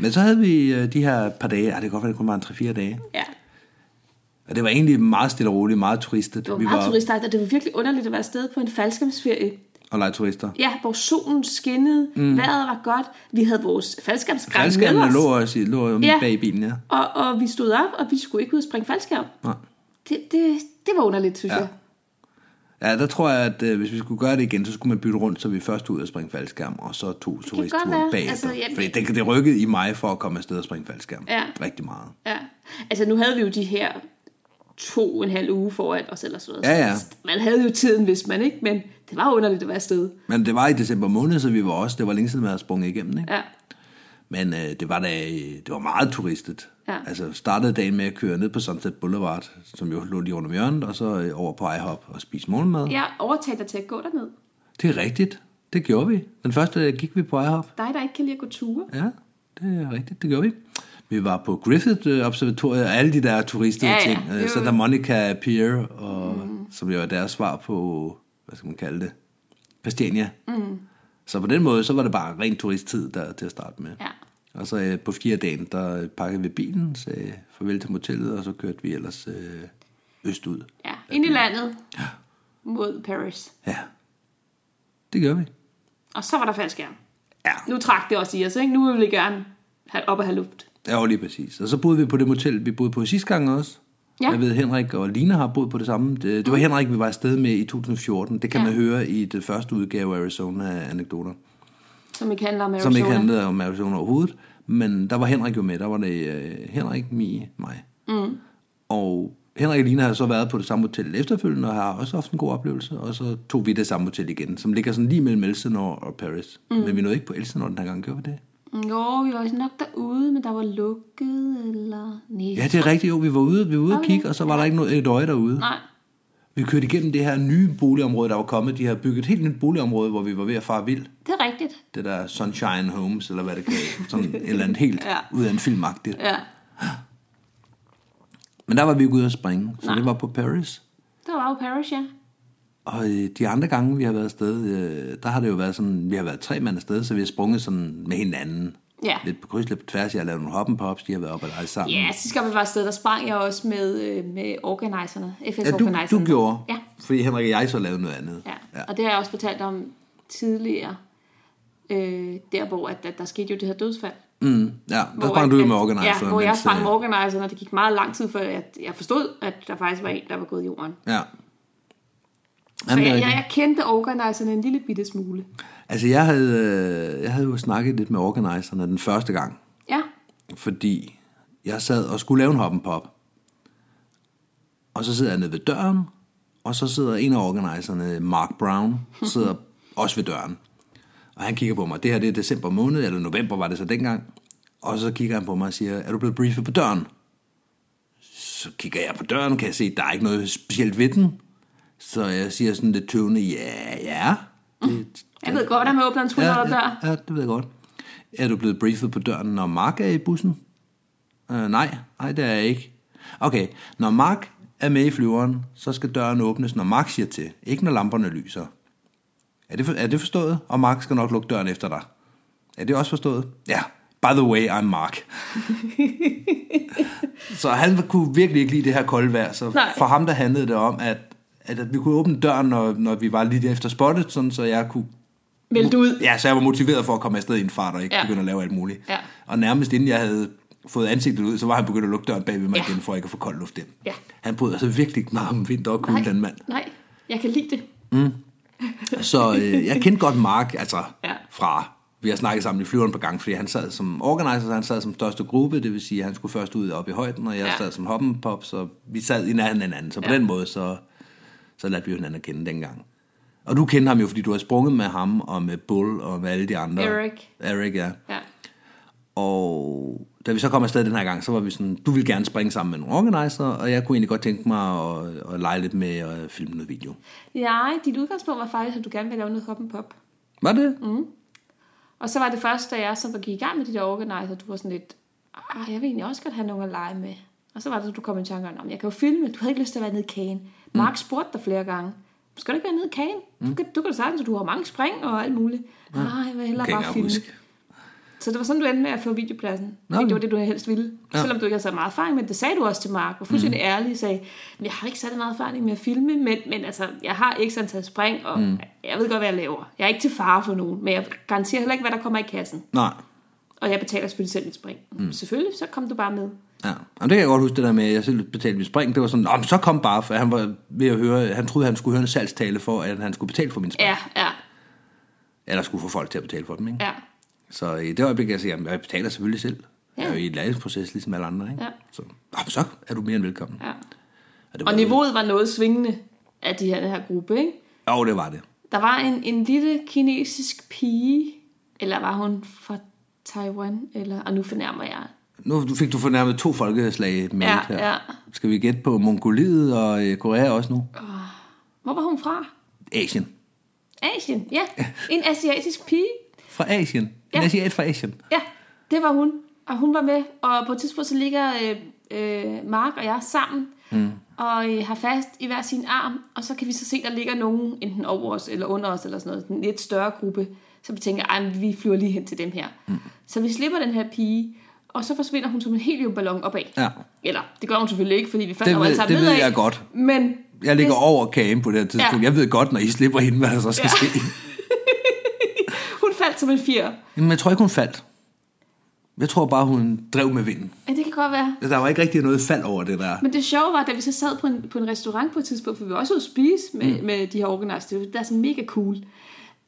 Speaker 2: Men så havde vi øh, de her par dage, ah, det kan godt være, det kun var en 3-4 dage.
Speaker 3: Ja.
Speaker 2: Og det var egentlig meget stille og roligt, meget turistet.
Speaker 3: Det var
Speaker 2: vi
Speaker 3: meget
Speaker 2: var
Speaker 3: turistagtigt, og det var virkelig underligt at være afsted på en faldskabsferie.
Speaker 2: og lege turister.
Speaker 3: Ja, hvor solen skinnede, mm. vejret var godt, vi havde vores faldskabsgræn med
Speaker 2: Falskerne
Speaker 3: os.
Speaker 2: lå også i, lå jo midt
Speaker 3: Ja.
Speaker 2: bag i bilen, ja.
Speaker 3: Og, og vi stod op, og vi skulle ikke ud og springe faldskærm.
Speaker 2: Nej.
Speaker 3: Det, det, det var underligt, synes
Speaker 2: Ja.
Speaker 3: ja. jeg.
Speaker 2: Ja, der tror jeg, at øh, hvis vi skulle gøre det igen, så skulle man bytte rundt, så vi først ud og springe faldskærm, og så to turistture
Speaker 3: være.
Speaker 2: bag. Altså,
Speaker 3: Altså, jamen-
Speaker 2: Fordi det, det rykkede i mig for at komme afsted og springe faldskærm.
Speaker 3: Ja.
Speaker 2: Rigtig meget.
Speaker 3: Ja. Altså, nu havde vi jo de her to og en halv uge foran os, eller sådan noget.
Speaker 2: Ja, ja.
Speaker 3: Så Man havde jo tiden, hvis man ikke, men det var underligt at være afsted.
Speaker 2: Men det var i december måned, så vi var også, det var længe siden, man havde sprunget igennem, ikke?
Speaker 3: Ja.
Speaker 2: Men øh, det var da, øh, det var meget turistet.
Speaker 3: Ja.
Speaker 2: Altså startede dagen med at køre ned på Sunset Boulevard, som jo lå lige rundt om hjørnet, og så øh, over på IHOP og spise morgenmad.
Speaker 3: Jeg overtalte dig til at gå derned.
Speaker 2: Det er rigtigt. Det gjorde vi. Den første dag gik vi på IHOP.
Speaker 3: Dig, der ikke kan lide at gå ture.
Speaker 2: Ja, det er rigtigt. Det gjorde vi. Vi var på Griffith-observatoriet og alle de der turistede
Speaker 3: Ja, ja.
Speaker 2: ting. Øh,
Speaker 3: Det
Speaker 2: Så
Speaker 3: var-
Speaker 2: der Monica Pier, og, mm. som jo er deres svar på, hvad skal man kalde det, Christiania. Mm. Så på den måde, så var det bare ren turisttid der, til at starte med.
Speaker 3: Ja.
Speaker 2: Og så øh, på fjerde dagen, der øh, pakkede vi bilen, sagde farvel til motellet, og så kørte vi ellers øh, øst ud.
Speaker 3: Ja, ind i landet. Ja. Mod Paris.
Speaker 2: Ja, det gør vi.
Speaker 3: Og så var der faldskærm.
Speaker 2: Ja.
Speaker 3: Nu trak det også i os, ikke? Nu ville vi gerne have op og have luft.
Speaker 2: Ja, jo, lige præcis. Og så boede vi på det motel, vi boede på sidste gang også.
Speaker 3: Ja.
Speaker 2: Jeg ved, Henrik og Lina har boet på det samme. Det, det var Henrik, vi var afsted med i 2014. Det kan ja. man høre i det første udgave af Arizona-anekdoter.
Speaker 3: Som ikke handler om Arizona.
Speaker 2: Som ikke handlede om Arizona overhovedet. Men der var Henrik jo med. Der var det øh, Henrik, Mie, mig. Mm. Og Henrik og Lina har så været på det samme hotel efterfølgende, og har også haft en god oplevelse. Og så tog vi det samme hotel igen, som ligger sådan lige mellem Elsinore og Paris. Mm. Men vi nåede ikke på Elsinore den her gang, gjorde vi det?
Speaker 3: Mm, Jo, vi var nok derude, men der var lukket, eller... Nej.
Speaker 2: Ja, det er rigtigt. Jo, vi var ude, vi var ude og kigge, og så var der ikke noget et øje derude.
Speaker 3: Nej.
Speaker 2: Vi kørte igennem det her nye boligområde, der var kommet. De har bygget et helt nyt boligområde, hvor vi var ved at fare vild.
Speaker 3: Det er rigtigt.
Speaker 2: Det der Sunshine Homes, eller hvad det kan Sådan et eller andet helt ja.
Speaker 3: Ja.
Speaker 2: ud af en filmagtigt.
Speaker 3: Ja,
Speaker 2: Men der var vi ikke ude at springe, så Nej.
Speaker 3: Nej.
Speaker 2: det var på Paris.
Speaker 3: det var jo Paris, ja.
Speaker 2: Og øh, de andre gange, vi har været afsted, øh, der har det jo været sådan, vi har været tre mand afsted, så vi har sprunget sådan med hinanden.
Speaker 3: Ja.
Speaker 2: Lidt på kryds, lidt på tværs. Jeg har lavet nogle hoppen pops, de har været op og lege sammen.
Speaker 3: Ja, sidste gang vi var afsted, der sprang jeg også med, øh, med organiserne, FS
Speaker 2: Ja, du,
Speaker 3: organiserne.
Speaker 2: du gjorde,
Speaker 3: Ja.
Speaker 2: fordi Henrik og jeg så lavede noget andet.
Speaker 3: ja. ja, og det har jeg også fortalt om tidligere, øh, der hvor at, at der skete jo det her dødsfald.
Speaker 2: Mm, ja der
Speaker 3: Hvor
Speaker 2: sprang
Speaker 3: at-
Speaker 2: du ud med
Speaker 3: at-
Speaker 2: organiser.
Speaker 3: Ja, hvor jeg
Speaker 2: mens,
Speaker 3: sprang
Speaker 2: øh,
Speaker 3: med organiserne, og det gik meget lang tid før, at jeg forstod, at der faktisk var en, der var gået i jorden.
Speaker 2: Ja.
Speaker 3: Så
Speaker 2: Jamen, det er
Speaker 3: jeg, jeg,
Speaker 2: rigtigt.
Speaker 3: jeg kendte organiserne en lille bitte smule.
Speaker 2: Altså, jeg havde, øh, jeg havde jo snakket lidt med organiserne den første gang,
Speaker 3: Ja,
Speaker 2: fordi jeg sad og skulle lave en hop pop. Og så sidder jeg nede ved døren, og så sidder en af organiserne, Mark Brown, sidder også ved døren. Og han kigger på mig, det her det er december måned, eller november var det så dengang. Og så kigger han på mig og siger, er du blevet briefet på døren? Så kigger jeg på døren, kan jeg se, der er ikke noget specielt ved den. Så jeg siger sådan lidt tøvende, ja, ja. Det,
Speaker 3: jeg ved godt, hvordan man åbner en
Speaker 2: ja,
Speaker 3: trullerød
Speaker 2: ja,
Speaker 3: dør.
Speaker 2: ja, det ved jeg godt. Er du blevet briefet på døren, når Mark er i bussen? Øh, nej, nej, det er jeg ikke. Okay, når Mark er med i flyveren, så skal døren åbnes, når Mark siger til. Ikke når lamperne lyser. Er det, for, er det forstået? Og Mark skal nok lukke døren efter dig. Er det også forstået? Ja. By the way, I'm Mark. så han kunne virkelig ikke lide det her kolde vejr, så
Speaker 3: Nej.
Speaker 2: for ham der handlede det om, at, at vi kunne åbne døren, når, når vi var lige efter spottet, sådan, så jeg kunne
Speaker 3: Meld ud.
Speaker 2: Ja, så jeg var motiveret for at komme afsted i en fart og ikke ja.
Speaker 3: Ja.
Speaker 2: begynde at lave alt muligt.
Speaker 3: Ja.
Speaker 2: Og nærmest inden jeg havde fået ansigtet ud, så var han begyndt at lukke døren bagved mig ja.
Speaker 3: Ja.
Speaker 2: igen, for ikke at få kold luft ind.
Speaker 3: Ja.
Speaker 2: Han bryder sig virkelig ikke meget om vinter og kulde, den mand.
Speaker 3: nej, jeg kan lide det.
Speaker 2: Så øh, jeg kendte godt Mark, altså ja.
Speaker 3: Ja.
Speaker 2: fra, vi har snakket sammen i flyveren på gang, fordi han sad som organizer, så han sad som største gruppe, det vil sige, at han skulle først ud op i højden, og jeg ja.
Speaker 3: Ja.
Speaker 2: sad som hoppen pop, så vi sad i nærheden af hinanden. Så på ja.
Speaker 3: Ja.
Speaker 2: den måde, så, så lærte vi jo hinanden at kende dengang. Og du kender ham jo, fordi du har sprunget med ham, og med Bull, og med alle de andre.
Speaker 3: Eric.
Speaker 2: Eric, ja.
Speaker 3: Ja.
Speaker 2: Og da vi så kom afsted den her gang, så var vi sådan, du ville gerne springe sammen med nogle organizer, og jeg kunne egentlig godt tænke mig at, at lege lidt med og filme noget video.
Speaker 3: ja, dit udgangspunkt var faktisk, at du gerne ville lave noget hop and pop.
Speaker 2: Var det? Mm.
Speaker 3: Og så var det først, da jeg så var gik i gang med de der organizer, du var sådan lidt, ah, jeg vil egentlig også godt have nogen at lege med. Og så var det, at du kom i tanke om, jeg kan jo filme, du havde ikke lyst til at være nede i kagen.
Speaker 2: Mm.
Speaker 3: Mark spurgte dig flere gange, skal du ikke være nede i kagen? Du kan, du kan da sagtens, at du har mange spring og alt muligt. Nej, jeg vil hellere
Speaker 2: Kan jeg
Speaker 3: bare filme.
Speaker 2: huske.
Speaker 3: Så det var sådan, du endte med at få videopladsen.
Speaker 2: Nå,
Speaker 3: Nå, det
Speaker 2: men-
Speaker 3: var det, du helst ville.
Speaker 2: Ja.
Speaker 3: Ja. Selvom du ikke havde så meget erfaring med det, det sagde du også til Mark. Og fuldstændig mm. ærlig sagde, "Men jeg har ikke særlig meget erfaring med at filme, men, men altså, jeg har ikke sådan taget spring, og mm. jeg ved godt, hvad jeg laver. Jeg er ikke til fare for nogen, men jeg garanterer heller ikke, hvad der kommer i kassen.
Speaker 2: Nej.
Speaker 3: Og jeg betaler selvfølgelig selv mit spring. Mm. Selvfølgelig, så kom du bare med.
Speaker 2: Ja. Jamen, det kan jeg godt huske, det der med, at jeg selv betalte mit spring. Det var sådan, "Nå, men så kom bare, for han var ved at høre, han troede, han skulle høre en salgstale for, at han skulle betale for min spring.
Speaker 3: Ja, ja,
Speaker 2: Ja. Eller skulle få folk til at betale for dem, ikke?
Speaker 3: ja.
Speaker 2: Så i det øjeblik, jeg siger, at jeg betaler selvfølgelig selv. Ja.
Speaker 3: Ja.
Speaker 2: Jeg er jo i et læringsproces, ligesom alle andre, ikke?
Speaker 3: Ja.
Speaker 2: Så, "Nå, men så er du mere end velkommen.
Speaker 3: ja.
Speaker 2: det var
Speaker 3: Og niveauet var noget svingende af de her, den her gruppe, ikke?
Speaker 2: Jo, det var det.
Speaker 3: Der var en, en lille kinesisk pige, eller var hun fra Taiwan, eller, og nu fornærmer jeg
Speaker 2: Nu fik du fornærmet to folkeslag med
Speaker 3: Ja,
Speaker 2: ja, her.
Speaker 3: ja.
Speaker 2: Skal vi gætte på Mongoliet og øh, Korea også nu?
Speaker 3: Hvor var hun fra?
Speaker 2: Asien.
Speaker 3: Asien, ja. En asiatisk pige.
Speaker 2: Fra Asien. En
Speaker 3: Ja.
Speaker 2: asiat fra Asien.
Speaker 3: Ja, det var hun. Og hun var med. Og på et tidspunkt så ligger øh, øh, Mark og jeg sammen. Mm. Og øh, har fast i hver sin arm. Og så kan vi så se, der ligger nogen enten over os eller under os. Eller sådan noget. En lidt større gruppe. Så vi tænker, ej, men vi flyver lige hen til dem her. Mm. Så vi slipper den her pige. Og så forsvinder hun som en heliumballon opad.
Speaker 2: Ja.
Speaker 3: Eller, det gør hun selvfølgelig ikke, fordi vi falder
Speaker 2: ved-
Speaker 3: jo alle sammen
Speaker 2: det ved
Speaker 3: nedad.
Speaker 2: jeg godt.
Speaker 3: Men
Speaker 2: Jeg ligger over kagen på det her tidspunkt. Ja.
Speaker 3: Ja.
Speaker 2: Jeg ved godt, når I slipper hende, hvad der så skal ja. ske.
Speaker 3: hun faldt som en fjer.
Speaker 2: Men jeg tror ikke, hun faldt. Jeg tror bare, hun drev med vinden.
Speaker 3: Ja, det kan godt være.
Speaker 2: Der var ikke rigtig noget fald over det der.
Speaker 3: Men det sjove var, da vi så sad på en, på en restaurant på et tidspunkt, for vi var også ude at spise med, mm. med de her organized, det var- det er sådan mega cool,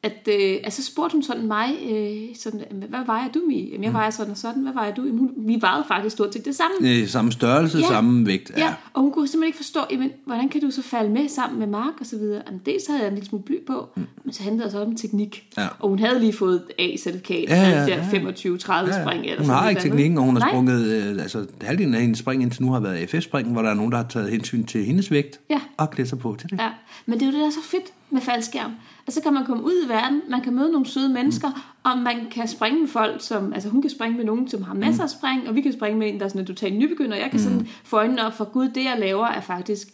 Speaker 3: at, øh, at så spurgte hun sådan mig, øh, sådan, "Jamen, hvad vejer du, Mie? Jamen,
Speaker 2: Mm.
Speaker 3: jeg vejer sådan og sådan, hvad vejer du? Jamen, hun, vi vejede faktisk stort set det samme.
Speaker 2: Øh, samme størrelse, ja.
Speaker 3: Ja.
Speaker 2: samme vægt. Ja.
Speaker 3: Ja, og hun kunne simpelthen ikke forstå, jamen, hvordan kan du så falde med sammen med Mark og så videre? Jamen, dels havde jeg en lille smule bly på, mm. men så handlede det så om teknik.
Speaker 2: Ja.
Speaker 3: Og hun havde lige fået A-certifikat,
Speaker 2: Ja,
Speaker 3: ja,
Speaker 2: ja,
Speaker 3: ja,
Speaker 2: ja, ja.
Speaker 3: der 25-30
Speaker 2: Ja,
Speaker 3: spring. Eller
Speaker 2: hun
Speaker 3: sådan
Speaker 2: har
Speaker 3: et
Speaker 2: ikke
Speaker 3: eller andet.
Speaker 2: teknikken, og hun har
Speaker 3: Nej.
Speaker 2: sprunget, øh, altså halvdelen af hendes spring indtil nu har været AFF-springen, hvor der er nogen, der har taget hensyn til hendes vægt
Speaker 3: Ja.
Speaker 2: og klædt sig på til det.
Speaker 3: Ja, men det er jo det, der er så fedt med faldskærm. Altså kan man komme ud i verden, man kan møde nogle søde mennesker, mm. og man kan springe med folk, som, altså hun kan springe med nogen, som har masser af spring, og vi kan springe med en, der er sådan en total nybegynder, og jeg kan mm. sådan få øjnene op for, gud, det jeg laver er faktisk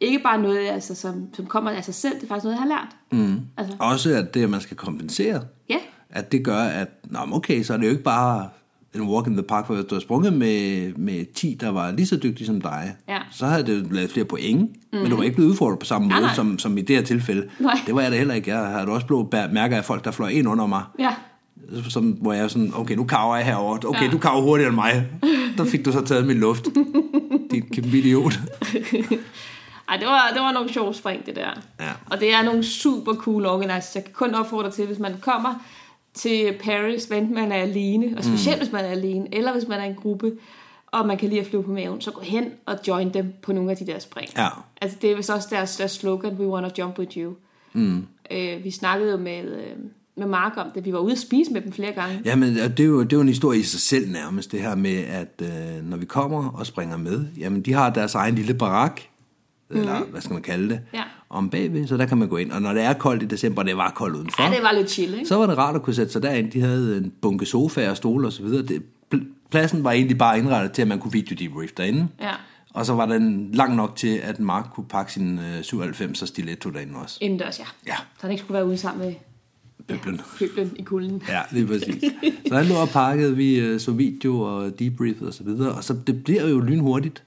Speaker 3: ikke bare noget, altså, som, som kommer af sig selv, det er faktisk noget, jeg har lært. Mm. Altså,
Speaker 2: Også at det, at man skal kompensere,
Speaker 3: ja,
Speaker 2: at det gør, at nå, men okay, så er det jo ikke bare en walk in the park, for hvis du har sprunget med, med 10, der var lige så dygtige som dig,
Speaker 3: Ja.
Speaker 2: så havde det jo lavet flere point, mm. men du var ikke blevet udfordret på samme
Speaker 3: Nej,
Speaker 2: måde,
Speaker 3: nej.
Speaker 2: som, som i det her tilfælde.
Speaker 3: Nej.
Speaker 2: Det var jeg da heller ikke. Jeg havde da også blå bær- mærker af folk, der fløj ind under mig,
Speaker 3: ja,
Speaker 2: som, hvor jeg sådan, okay, nu kaver jeg herover. Okay, ja.
Speaker 3: Ja.
Speaker 2: du kaver hurtigere end mig. Der fik du så taget min luft. Din kæmpe idiot.
Speaker 3: Ej, det var, det var nogle sjove spring, det der.
Speaker 2: Ja.
Speaker 3: Og det er nogle super cool organizers. Jeg kan kun opfordre til, hvis man kommer til Paris, hvad enten man er alene, og specielt mm. hvis man er alene, eller hvis man er en gruppe, og man kan lide at flyve på maven, så gå hen og join dem på nogle af de der spring.
Speaker 2: Ja.
Speaker 3: Altså det er vist også deres, deres slogan, we wanna jump with you. Mm. Øh, vi snakkede jo med, øh, med Mark om det. Vi var ude at spise med dem flere gange.
Speaker 2: Jamen, og det er, jo, det er jo en historie i sig selv nærmest, det her med, at øh, når vi kommer og springer med, jamen, de har deres egen lille barak, eller mm. hvad skal man kalde det,
Speaker 3: Mhm. Ja.
Speaker 2: om bagved, så der kan man gå ind. Og når det er koldt i december, og det var koldt udenfor,
Speaker 3: Ja, det var lidt chill, ikke?
Speaker 2: så var det rart at kunne sætte sig derind. De havde en bunke sofaer og stole osv. Pladsen var egentlig bare indrettet til, at man kunne video debrief derinde.
Speaker 3: Ja.
Speaker 2: Og så var den lang nok til, at Mark kunne pakke sin øh, 97'er stiletto derinde også.
Speaker 3: Indendørs, ja.
Speaker 2: Ja.
Speaker 3: Så han ikke skulle være ude sammen med
Speaker 2: Bøblen.
Speaker 3: pøblen i kulden.
Speaker 2: Ja, lige præcis. Så han lå og pakkede, vi øh, så video og debriefet og så videre, og så det bliver jo lynhurtigt,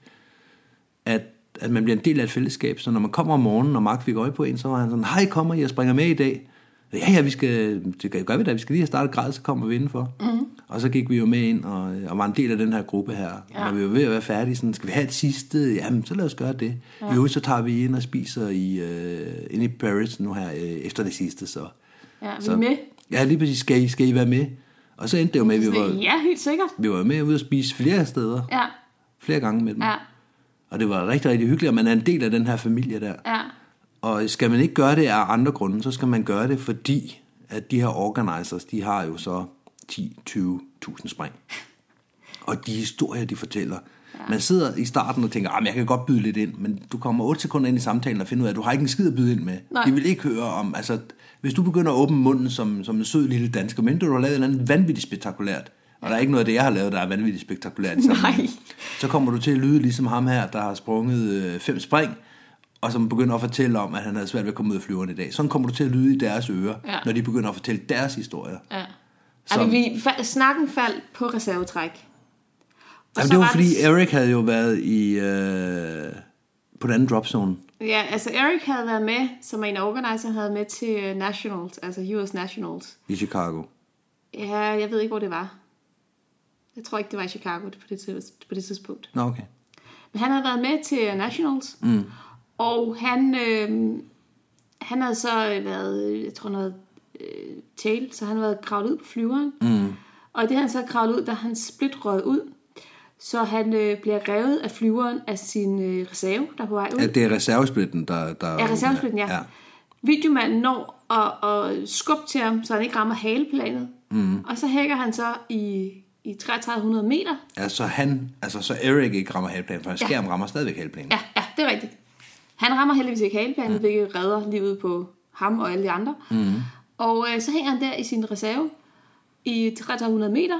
Speaker 2: at, at man bliver en del af et fællesskab, så når man kommer om morgenen, og Mark fik øje på en, så var han sådan, hej, kommer I og springer med i dag? Ja, ja, vi skal, det gør- gør vi da, vi skal lige have startet græd, så kommer vi indenfor. Mm. Og så gik vi jo med ind og, øh, og var en del af den her gruppe her. Ja. Når vi var ved at være færdige, sådan, skal vi have et sidste? Jamen, så lad os gøre det. Ja. Jo, så tager vi ind og spiser i, øh, inde i Paris nu her, øh, efter det sidste, så.
Speaker 3: Ja, vi
Speaker 2: Så-
Speaker 3: er med.
Speaker 2: Ja, lige præcis. Skal I, skal I være med? Og så endte det jo med, at vi var,
Speaker 3: Ja, helt sikkert.
Speaker 2: vi var med ude at spise flere steder.
Speaker 3: Ja,
Speaker 2: Flere gange med dem.
Speaker 3: ja,
Speaker 2: Og det var rigtig, rigtig hyggeligt, og man er en del af den her familie der.
Speaker 3: ja.
Speaker 2: Og skal man ikke gøre det af andre grunde, så skal man gøre det, fordi at de her organizers, de har jo så 10-20.000 spring. Og de historier, de fortæller. Ja. Man sidder i starten og tænker, at jeg kan godt byde lidt ind, men du kommer 8 sekunder ind i samtalen og finder ud af, at du har ikke en skid at byde ind med.
Speaker 3: Nej.
Speaker 2: De vil ikke høre om, altså, hvis du begynder at åbne munden som, som en sød lille dansker, men du har lavet et eller andet vanvittigt spektakulært, og der er ikke noget af det, jeg har lavet, der er vanvittigt spektakulært. i sammenhæng,
Speaker 3: Nej.
Speaker 2: Så kommer du til at lyde ligesom ham her, der har sprunget øh, fem spring, og som begynder at fortælle om, at han havde svært ved at komme ud af flyveren i dag. Sådan kommer du til at lyde i deres ører,
Speaker 3: Ja.
Speaker 2: når de begynder at fortælle deres historier.
Speaker 3: ja.
Speaker 2: Så-
Speaker 3: Altså, vi, fa- snakken faldt på reservetræk. Og
Speaker 2: Jamen,
Speaker 3: så
Speaker 2: det var,
Speaker 3: var
Speaker 2: fordi
Speaker 3: det-
Speaker 2: Eric havde jo været i øh, på den anden dropzone.
Speaker 3: Ja, altså Eric havde været med, som en organizer havde med til øh, Nationals, altså US Nationals.
Speaker 2: i Chicago.
Speaker 3: Ja, jeg ved ikke, hvor det var. Jeg tror ikke, det var i Chicago på det, tids- på det tidspunkt.
Speaker 2: Nå, okay.
Speaker 3: Men han havde været med til Nationals, mm. og han, øh, han havde så været, øh, jeg tror noget øh, tail, så han havde været kravlet ud på flyveren. Mm. Og i det han så kravlet ud, der er han split røget ud, så han øh, bliver revet af flyveren af sin øh, reserve, der er på vej ud.
Speaker 2: At det er reservesplitten, der... der
Speaker 3: Ja, reservesplitten, ja.
Speaker 2: ja.
Speaker 3: ja. Videomanden når at, at skubbe til ham, så han ikke rammer haleplanet. Mm. Og så hækker han så i, i 3300 meter.
Speaker 2: Ja, så han, altså så Eric ikke rammer halvplanen, for hans ja.
Speaker 3: Ja.
Speaker 2: skærm rammer stadigvæk halvplanen.
Speaker 3: Ja, ja, det er rigtigt. Han rammer heldigvis ikke haleplanen, ja. hvilket redder livet på ham og alle de andre.
Speaker 2: Mhm.
Speaker 3: Mm. Og øh, så hænger han der i sin reserve i 300 meter.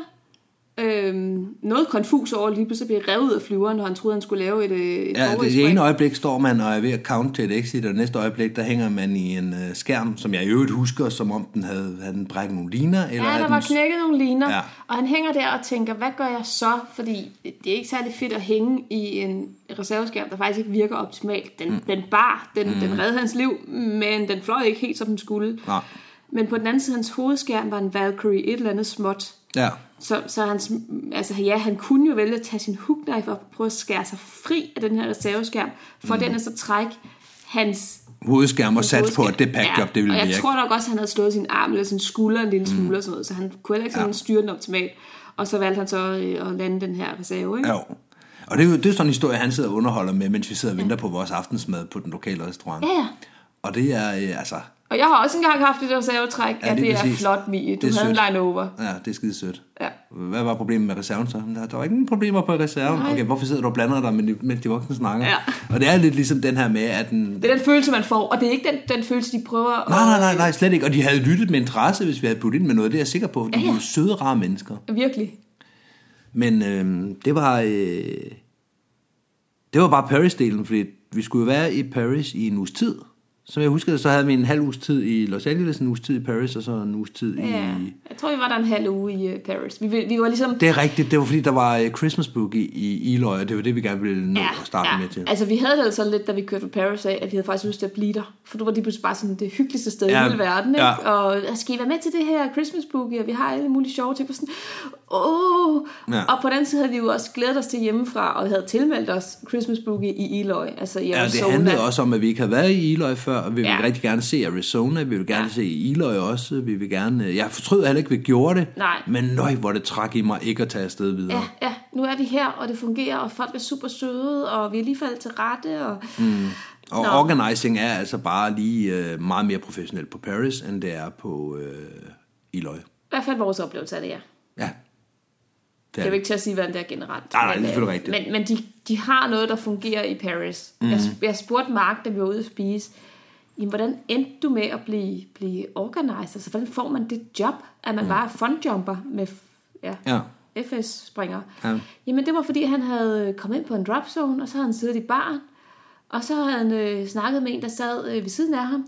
Speaker 3: Øhm, noget konfus over at lige pludselig bliver revet ud af flyveren, når han troede, han skulle lave et, øh, et
Speaker 2: Ja, det, det
Speaker 3: forudspring.
Speaker 2: ene øjeblik står man og er ved at count til et exit, og det næste øjeblik, der hænger man i en øh, skærm, som jeg i øvrigt husker, som om den havde, havde den brækket nogle liner, eller
Speaker 3: Ja,
Speaker 2: havde
Speaker 3: der var
Speaker 2: den...
Speaker 3: knækket nogle liner,
Speaker 2: Ja.
Speaker 3: ja. og han hænger der og tænker, hvad gør jeg så? Fordi det er ikke særlig fedt at hænge i en reserveskærm, der faktisk ikke virker optimalt. Den, mm. den bar, den, mm. den reddede hans liv, men den fløj ikke helt, som den skulle.
Speaker 2: Nej.
Speaker 3: Men på den anden side, hans hovedskærm var en Valkyrie, et eller andet småt.
Speaker 2: Ja,
Speaker 3: Så, så hans, altså ja, han kunne jo vælge at tage sin hookknife op og prøve at skære sig fri af den her reserveskærm, for mm. den at så trække hans
Speaker 2: hovedskærm og sat på,
Speaker 3: hovedskærm.
Speaker 2: at det packjob, det ville
Speaker 3: og jeg
Speaker 2: virke. Mm.
Speaker 3: tror nok også, at han havde slået sin arm eller sin skulder en lille smule og sådan noget, så han kunne heller ikke sådan ja. styre den optimalt. Og så valgte han så øh, at lande den her reserve, ikke?
Speaker 2: Ja. Og det er jo det er sådan en historie, han sidder og underholder med, mens vi sidder og venter på vores aftensmad på den lokale restaurant.
Speaker 3: Ja, ja.
Speaker 2: Og det er, øh, altså,
Speaker 3: Og jeg har også engang haft et reservetræk, ja, at
Speaker 2: lige
Speaker 3: det er
Speaker 2: præcis.
Speaker 3: flot, Mie. Du
Speaker 2: Det er
Speaker 3: havde
Speaker 2: sødt.
Speaker 3: en line over.
Speaker 2: ja, det er skide sødt.
Speaker 3: Ja.
Speaker 2: Hvad var problemet med reserven så? "Men Der der var ingen problemer på reserven. Nej. Okay, hvorfor sidder du og blander dig, men- mens de voksne snakker?
Speaker 3: Ja.
Speaker 2: Og det er lidt ligesom den her med, at den...
Speaker 3: Det er den følelse, man får, og det er ikke den, den følelse, de prøver at...
Speaker 2: Nej, nej, nej, nej, slet ikke. Og de havde lyttet med interesse, hvis vi havde puttet ind med noget. Det er jeg sikker på. De
Speaker 3: Ja, ja.
Speaker 2: er jo søde, rare mennesker.
Speaker 3: Virkelig.
Speaker 2: Men øh, det var... Øh, det var bare Paris-delen, fordi vi skulle jo være i Paris i en uges tid. Som jeg husker, det, så havde vi en halv uges tid i Los Angeles, en uges tid i Paris, og så en uges tid i...
Speaker 3: Ja. Jeg tror, vi var der en halv uge i øh, Paris. Vi, vi vi var ligesom...
Speaker 2: Det er rigtigt. Det var fordi, der var øh, Christmas Book i, i Eloy, og det var det, vi gerne ville nå at starte med til.
Speaker 3: Altså, vi havde det altså lidt, da vi kørte fra Paris af, at vi havde faktisk lyst til at blive der. For du var lige pludselig bare sådan det hyggeligste sted
Speaker 2: Ja,
Speaker 3: ja, i hele verden, ikke?
Speaker 2: ja.
Speaker 3: Og skal I være med til det her Christmas boogie, og vi har alle mulige sjove ting. Og sådan, Åh!
Speaker 2: Ja.
Speaker 3: Ja. Og på den side havde vi jo også glædet os til hjemmefra, og vi havde tilmeldt os Christmas Boogie i Eloy, altså i
Speaker 2: Ja,
Speaker 3: Arizona.
Speaker 2: det handlede også om, at vi ikke havde været i Eloy før, og vi ja.
Speaker 3: Ja.
Speaker 2: vil rigtig gerne se Arizona, vi vil gerne ja.
Speaker 3: Ja.
Speaker 2: se Eloy også, vi vil gerne... øh, Jeg fortrød heller ikke, at vi gjorde det,
Speaker 3: Nej.
Speaker 2: men nøj, hvor det trak i mig ikke at tage afsted videre.
Speaker 3: Ja, ja, nu er vi her, og det fungerer, og folk er super søde, og vi er lige faldet til rette, og... Mm.
Speaker 2: Og Nå. organizing er altså bare lige øh, meget mere professionelt på Paris, end det er på øh, Eloy.
Speaker 3: I hvert fald vores oplevelse af det, ja.
Speaker 2: Ja. Det
Speaker 3: Jeg
Speaker 2: er
Speaker 3: vil
Speaker 2: det.
Speaker 3: ikke til at sige, hvordan det er generelt.
Speaker 2: Nej, nej,
Speaker 3: Men,
Speaker 2: det er selvfølgelig
Speaker 3: øh,
Speaker 2: rigtigt. Mhm.
Speaker 3: Men, men de, de har noget, der fungerer i Paris. Mm. Jeg, jeg spurgte Mark, da vi var ude at spise, jamen, hvordan endte du med at blive, blive organizer? Altså, hvordan får man det job,
Speaker 2: Mhm.
Speaker 3: at man mm. bare er fondjumper med f- ja,
Speaker 2: Ja.
Speaker 3: FS-springer?
Speaker 2: Ja.
Speaker 3: Jamen, det var, fordi han havde kommet ind på en dropzone, og så havde han siddet i baren, og så havde han øh, snakket med en, der sad øh, ved siden af ham,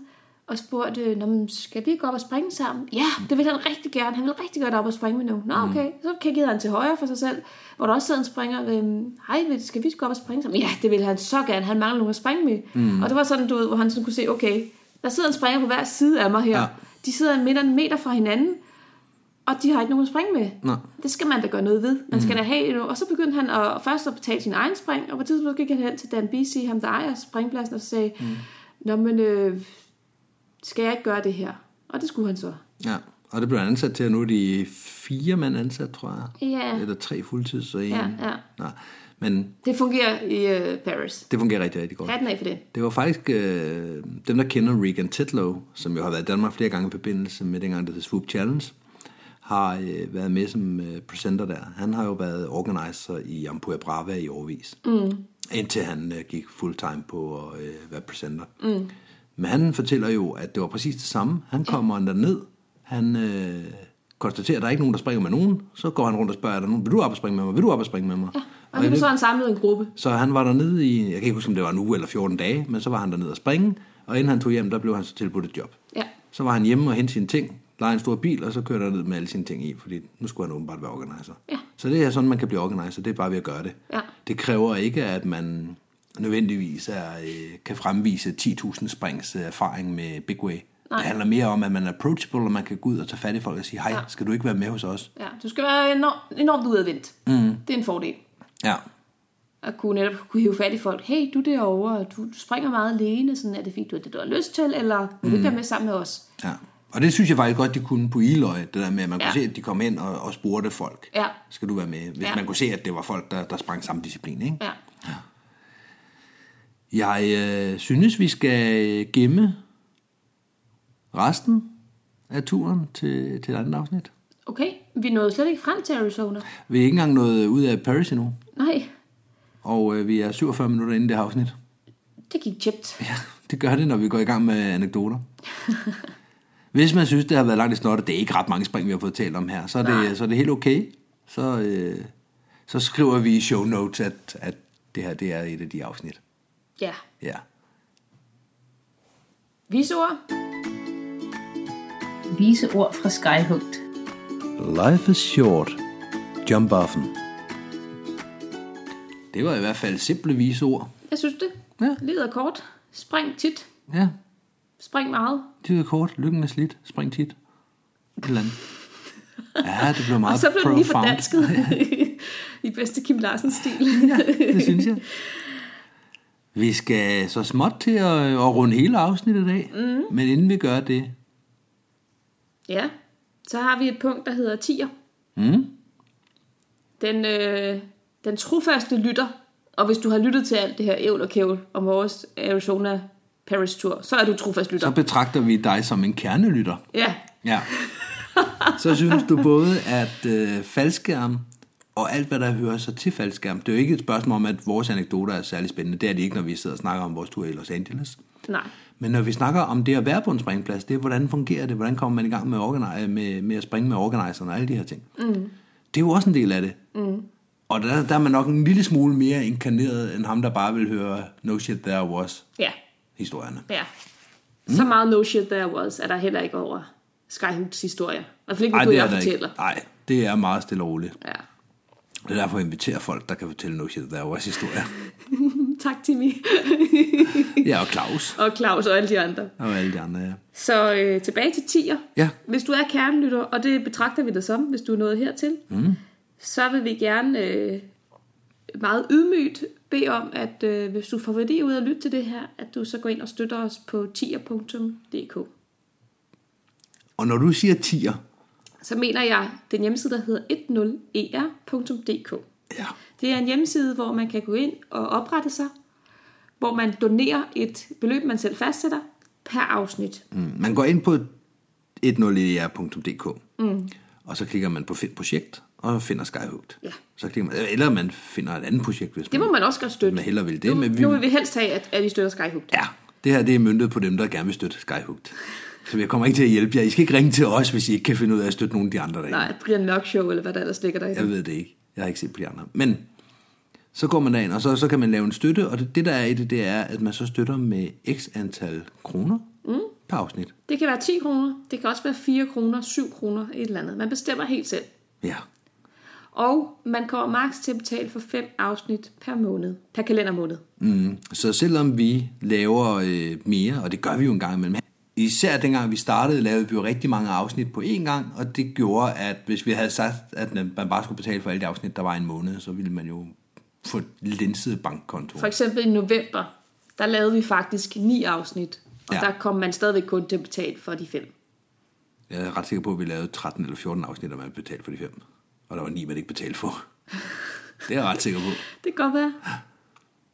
Speaker 3: og spurgt, øh, "Nå, men skal vi gå op og springe sammen? Ja, det vil han rigtig gerne. Han vil rigtig godt op og springe med nogen. Nå, okay. Mm. Så kiggede han til højre for sig selv, hvor der også sad en springer. Øh, Hej, vil- skal vi gå op og springe sammen? Ja, det vil han så gerne. Han mangler nogen at springe med. Mm. Og det var sådan, du ved, hvor han sådan kunne se, okay, der sidder en springer på hver side af mig her.
Speaker 2: Ja.
Speaker 3: Ja. De sidder mindre end en meter fra hinanden, og de har ikke nogen at springe med.
Speaker 2: Nej.
Speaker 3: Det skal man da gøre noget ved. Man skal da have det. Og så begyndte han at, først at betale sin egen spring, og på et tidspunkt gik han hen til Dan B.C., ham der ejer springpladsen, og sagde, mm. Nå, men øh, skal jeg ikke gøre det her? Og det skulle han så.
Speaker 2: ja. Og det blev han ansat til, og nu er de fire mand ansat, tror jeg.
Speaker 3: Ja.
Speaker 2: Eller tre fuldtids og en.
Speaker 3: Ja, ja.
Speaker 2: Nej. Men
Speaker 3: Det fungerer i øh, Paris.
Speaker 2: det fungerer rigtig, rigtig godt.
Speaker 3: Hatten af for det.
Speaker 2: Det var faktisk øh, dem, der kender Regan Titlow, som jo har været i Danmark flere gange i forbindelse med dengang, der hed Swoop Challenge, har øh, været med som øh, presenter der. Han har jo været organizer i Ampua Brava i årvis, mm. indtil han øh, gik fulltime på at øh, være presenter. Mm. Men han fortæller jo, at det var præcis det samme. Han kommer ja. derned, han øh, konstaterer, at der er ikke nogen, der springer med nogen. Så går han rundt og spørger, er der nogen, vil du op og springe med mig? Vil du op og springe med mig? Ja.
Speaker 3: Og det så han samlet en gruppe.
Speaker 2: Så han var dernede i, jeg kan ikke huske, om det var en uge eller 14 dage, men så var han dernede og springe, og inden han tog hjem, der blev han så tilbudt et job.
Speaker 3: Ja.
Speaker 2: Så var han hjemme og hentede sine ting, lejede en stor bil, og så kørte han ned med alle sine ting i, fordi nu skulle han åbenbart være organizer.
Speaker 3: Ja.
Speaker 2: Så det er sådan, man kan blive organizer, det er bare ved at gøre det.
Speaker 3: Ja.
Speaker 2: Det kræver ikke, at man nødvendigvis er, øh, kan fremvise 10.000 springs øh, erfaring med Big Way. Nej. Det handler mere om, at man er approachable, og man kan gå ud og tage fat i folk og sige, hej, ja. skal du ikke være med hos os?
Speaker 3: ja. Du skal være enormt, enormt udadvendt. Mm. Det er en fordel.
Speaker 2: Ja,
Speaker 3: At kunne netop kunne hive fat i folk. Hey, du derovre, og du springer meget alene. Sådan er det fint, du er det, du har lyst til, eller vil du ikke være med sammen med os?
Speaker 2: Ja, og det synes jeg faktisk godt, de kunne på Iløj, det der med, at man ja.
Speaker 3: Ja.
Speaker 2: kunne se, at de kom ind og, og spurgte folk,
Speaker 3: Ja.
Speaker 2: skal du være med? Hvis ja.
Speaker 3: Ja.
Speaker 2: man kunne se, at det var folk, der, der sprang samme disciplin, ikke?
Speaker 3: Ja.
Speaker 2: Jeg øh, synes, vi skal øh, gemme resten af turen til, til et andet afsnit.
Speaker 3: Okay, vi nåede slet ikke frem til Arizona.
Speaker 2: Vi er ikke engang nået ud af Paris endnu,
Speaker 3: Nej,
Speaker 2: og øh, vi er 47 minutter inde i det her afsnit.
Speaker 3: det gik tjept.
Speaker 2: Ja, det gør det, når vi går i gang med anekdoter. Hvis man synes, det har været langt i snot, og det er ikke ret mange spring, vi har fået talt om her, så er det, så er det helt okay. Så, øh, så skriver vi i show notes, at, at det her det er et af de afsnit.
Speaker 3: Ja.
Speaker 2: Ja.
Speaker 3: Visord.
Speaker 1: Vise ord fra Skyhugt.
Speaker 2: Life is short. John Buffen. Det var i hvert fald simple vise ord.
Speaker 3: Jeg synes det.
Speaker 2: Ja.
Speaker 3: Livet er kort. Spring tit.
Speaker 2: Ja,
Speaker 3: Spring meget.
Speaker 2: det er kort. Lykken er slidt. Spring tit. Et eller andet. Ja, det blev meget
Speaker 3: Og så blev den lige
Speaker 2: profound.
Speaker 3: fordansket i bedste Kim Larsens stil.
Speaker 2: det synes jeg. Vi skal så småt til at, at runde hele afsnittet af. Mm. Men inden vi gør det,
Speaker 3: ja. Så har vi et punkt, der hedder tier.
Speaker 2: mm,
Speaker 3: Den, øh, den trofaste lytter. Og hvis du har lyttet til alt det her ævl og kævl om vores Arizona Paris Tour, så er du trofast lytter.
Speaker 2: så betragter vi dig som en kernelytter.
Speaker 3: Ja.
Speaker 2: Ja. Så synes du både, at øh, faldskærm og alt, hvad der hører sig til faldskærm, det er jo ikke et spørgsmål om, at vores anekdoter er særlig spændende. Det er det ikke, når vi sidder og snakker om vores tur i Los Angeles.
Speaker 3: Nej.
Speaker 2: Men når vi snakker om det at være på en springplads, det er, hvordan fungerer det? Hvordan kommer man i gang med, organi- øh, med, med at springe med organiserne og alle de her ting? Mm. Det er jo også en del af det. Mm. Og der, der er man nok en lille smule mere inkarneret, end ham, der bare vil høre No Shit There Was
Speaker 3: Ja.
Speaker 2: historierne.
Speaker 3: Ja.
Speaker 2: Mm.
Speaker 3: Så meget no shit there was, er der heller ikke over Skyhooks historie. I hvert fald ikke,
Speaker 2: Ej,
Speaker 3: hvad du
Speaker 2: det
Speaker 3: jeg
Speaker 2: er der ikke.
Speaker 3: fortæller.
Speaker 2: Nej, det er meget stille og roligt.
Speaker 3: Ja.
Speaker 2: Det er derfor, jeg inviterer folk, der kan fortælle No Shit There Was historier.
Speaker 3: Mm, Tak, Timmy.
Speaker 2: ja, og Claus
Speaker 3: og Claus og alle de andre.
Speaker 2: og alle de andre, ja.
Speaker 3: Så øh, tilbage til tier.
Speaker 2: Ja,
Speaker 3: Hvis du er kernelytter, og det betragter vi dig som, hvis du er nået hertil, mm. så vil vi gerne øh, meget ydmygt bede om, at øh, hvis du får værdi ud af at lytte til det her, at du så går ind og støtter os på tier.dk.
Speaker 2: Og når du siger tier,
Speaker 3: Så mener jeg den hjemmeside, der hedder e 10er.dk.
Speaker 2: ja,
Speaker 3: Det er en hjemmeside, hvor man kan gå ind og oprette sig, hvor man donerer et beløb, man selv fastsætter, per afsnit.
Speaker 2: mm, man går ind på 101.dk, mm. og så klikker man på find projekt, og finder Skyhugt.
Speaker 3: Ja.
Speaker 2: Så klikker man, eller man finder et andet projekt, hvis
Speaker 3: Det må man også godt støtte.
Speaker 2: man hellere vil det.
Speaker 3: Nu,
Speaker 2: men vi,
Speaker 3: nu vil vi helst have, at, at I støtter Skyhook.
Speaker 2: Ja, det her det er møntet på dem, der gerne vil støtte Skyhugt. Så jeg kommer ikke til at hjælpe jer. I skal ikke ringe til os, hvis I ikke kan finde ud af at støtte nogen af de andre derinde.
Speaker 3: Nej, Brian Mørk Show, eller hvad der ellers ligger der i.
Speaker 2: Jeg ved det ikke. Jeg har ikke set på de andre. Men så går man derind, og så, så kan man lave en støtte, og det, det der er i det, det er, at man så støtter med x antal kroner mm. per afsnit.
Speaker 3: Det kan være 10 kroner, det kan også være 4 kroner, 7 kroner, et eller andet. Man bestemmer helt selv.
Speaker 2: Ja,
Speaker 3: Og man kommer maks til at betale for 5 afsnit per måned, per kalendermåned.
Speaker 2: mm. Så selvom vi laver øh, mere, og det gør vi jo en gang imellem, især dengang vi startede, lavede vi jo rigtig mange afsnit på én gang, og det gjorde, at hvis vi havde sagt, at man bare skulle betale for alle de afsnit, der var i en måned, så ville man jo få et linset bankkonto.
Speaker 3: For eksempel i november, der lavede vi faktisk 9 afsnit. Og
Speaker 2: Ja.
Speaker 3: ja. der kom man stadigvæk kun til at betale for de 5.
Speaker 2: Jeg er ret sikker på, at vi lavede 13 eller 14 afsnit, og man betalte for de fem. Og der var ni, man ikke betalte for. Det er jeg ret sikker på.
Speaker 3: Det kan godt være.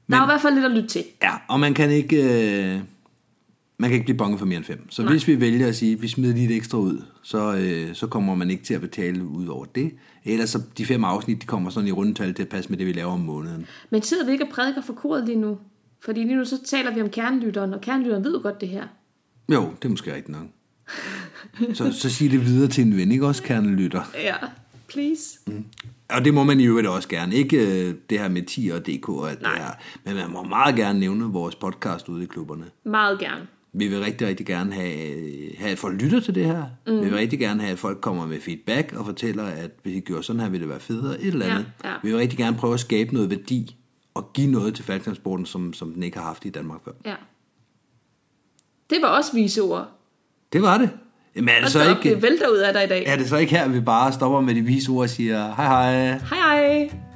Speaker 3: Men... Der er i hvert fald lidt at lytte til.
Speaker 2: Ja, og man kan ikke, øh, man kan ikke blive bange for mere end fem. Så Nej. hvis vi vælger at sige, at vi smider lige et ekstra ud, så, øh, så kommer man ikke til at betale ud over det. Ellers så de fem afsnit, de kommer sådan i rundtal til at passe med det, vi laver om måneden.
Speaker 3: Men sidder vi ikke og prædiker for koret lige nu? Fordi lige nu så taler vi om kernelytteren, og kernelytteren ved jo godt det her.
Speaker 2: Jo, det er måske rigtigt nok. Så, så sig det videre til en ven, ikke også, kernelytter?
Speaker 3: Ja, please.
Speaker 2: Og det må man i øvrigt også gerne. Ikke øh, det her med 10 og DK og alt Nej. det her. Men man må meget gerne nævne vores podcast ude i klubberne.
Speaker 3: Meget gerne.
Speaker 2: Vi vil rigtig, rigtig gerne have, øh, have at folk lytter til det her. Mm. Vi vil rigtig gerne have, at folk kommer med feedback og fortæller, at hvis I gjorde sådan her, ville det være federe. Et eller
Speaker 3: Ja,
Speaker 2: andet.
Speaker 3: ja.
Speaker 2: Vi vil rigtig gerne prøve at skabe noget værdi og give noget til faldskabsporten, som, som den ikke har haft i Danmark før.
Speaker 3: Ja. Det var også vise ord.
Speaker 2: Det var det. Jamen er det, så
Speaker 3: Altså ikke...
Speaker 2: ikke,
Speaker 3: Det vælter ud af dig i dag. Ja.
Speaker 2: er det så ikke her, vi bare stopper med de vise ord og siger hej hej?
Speaker 3: Hej hej.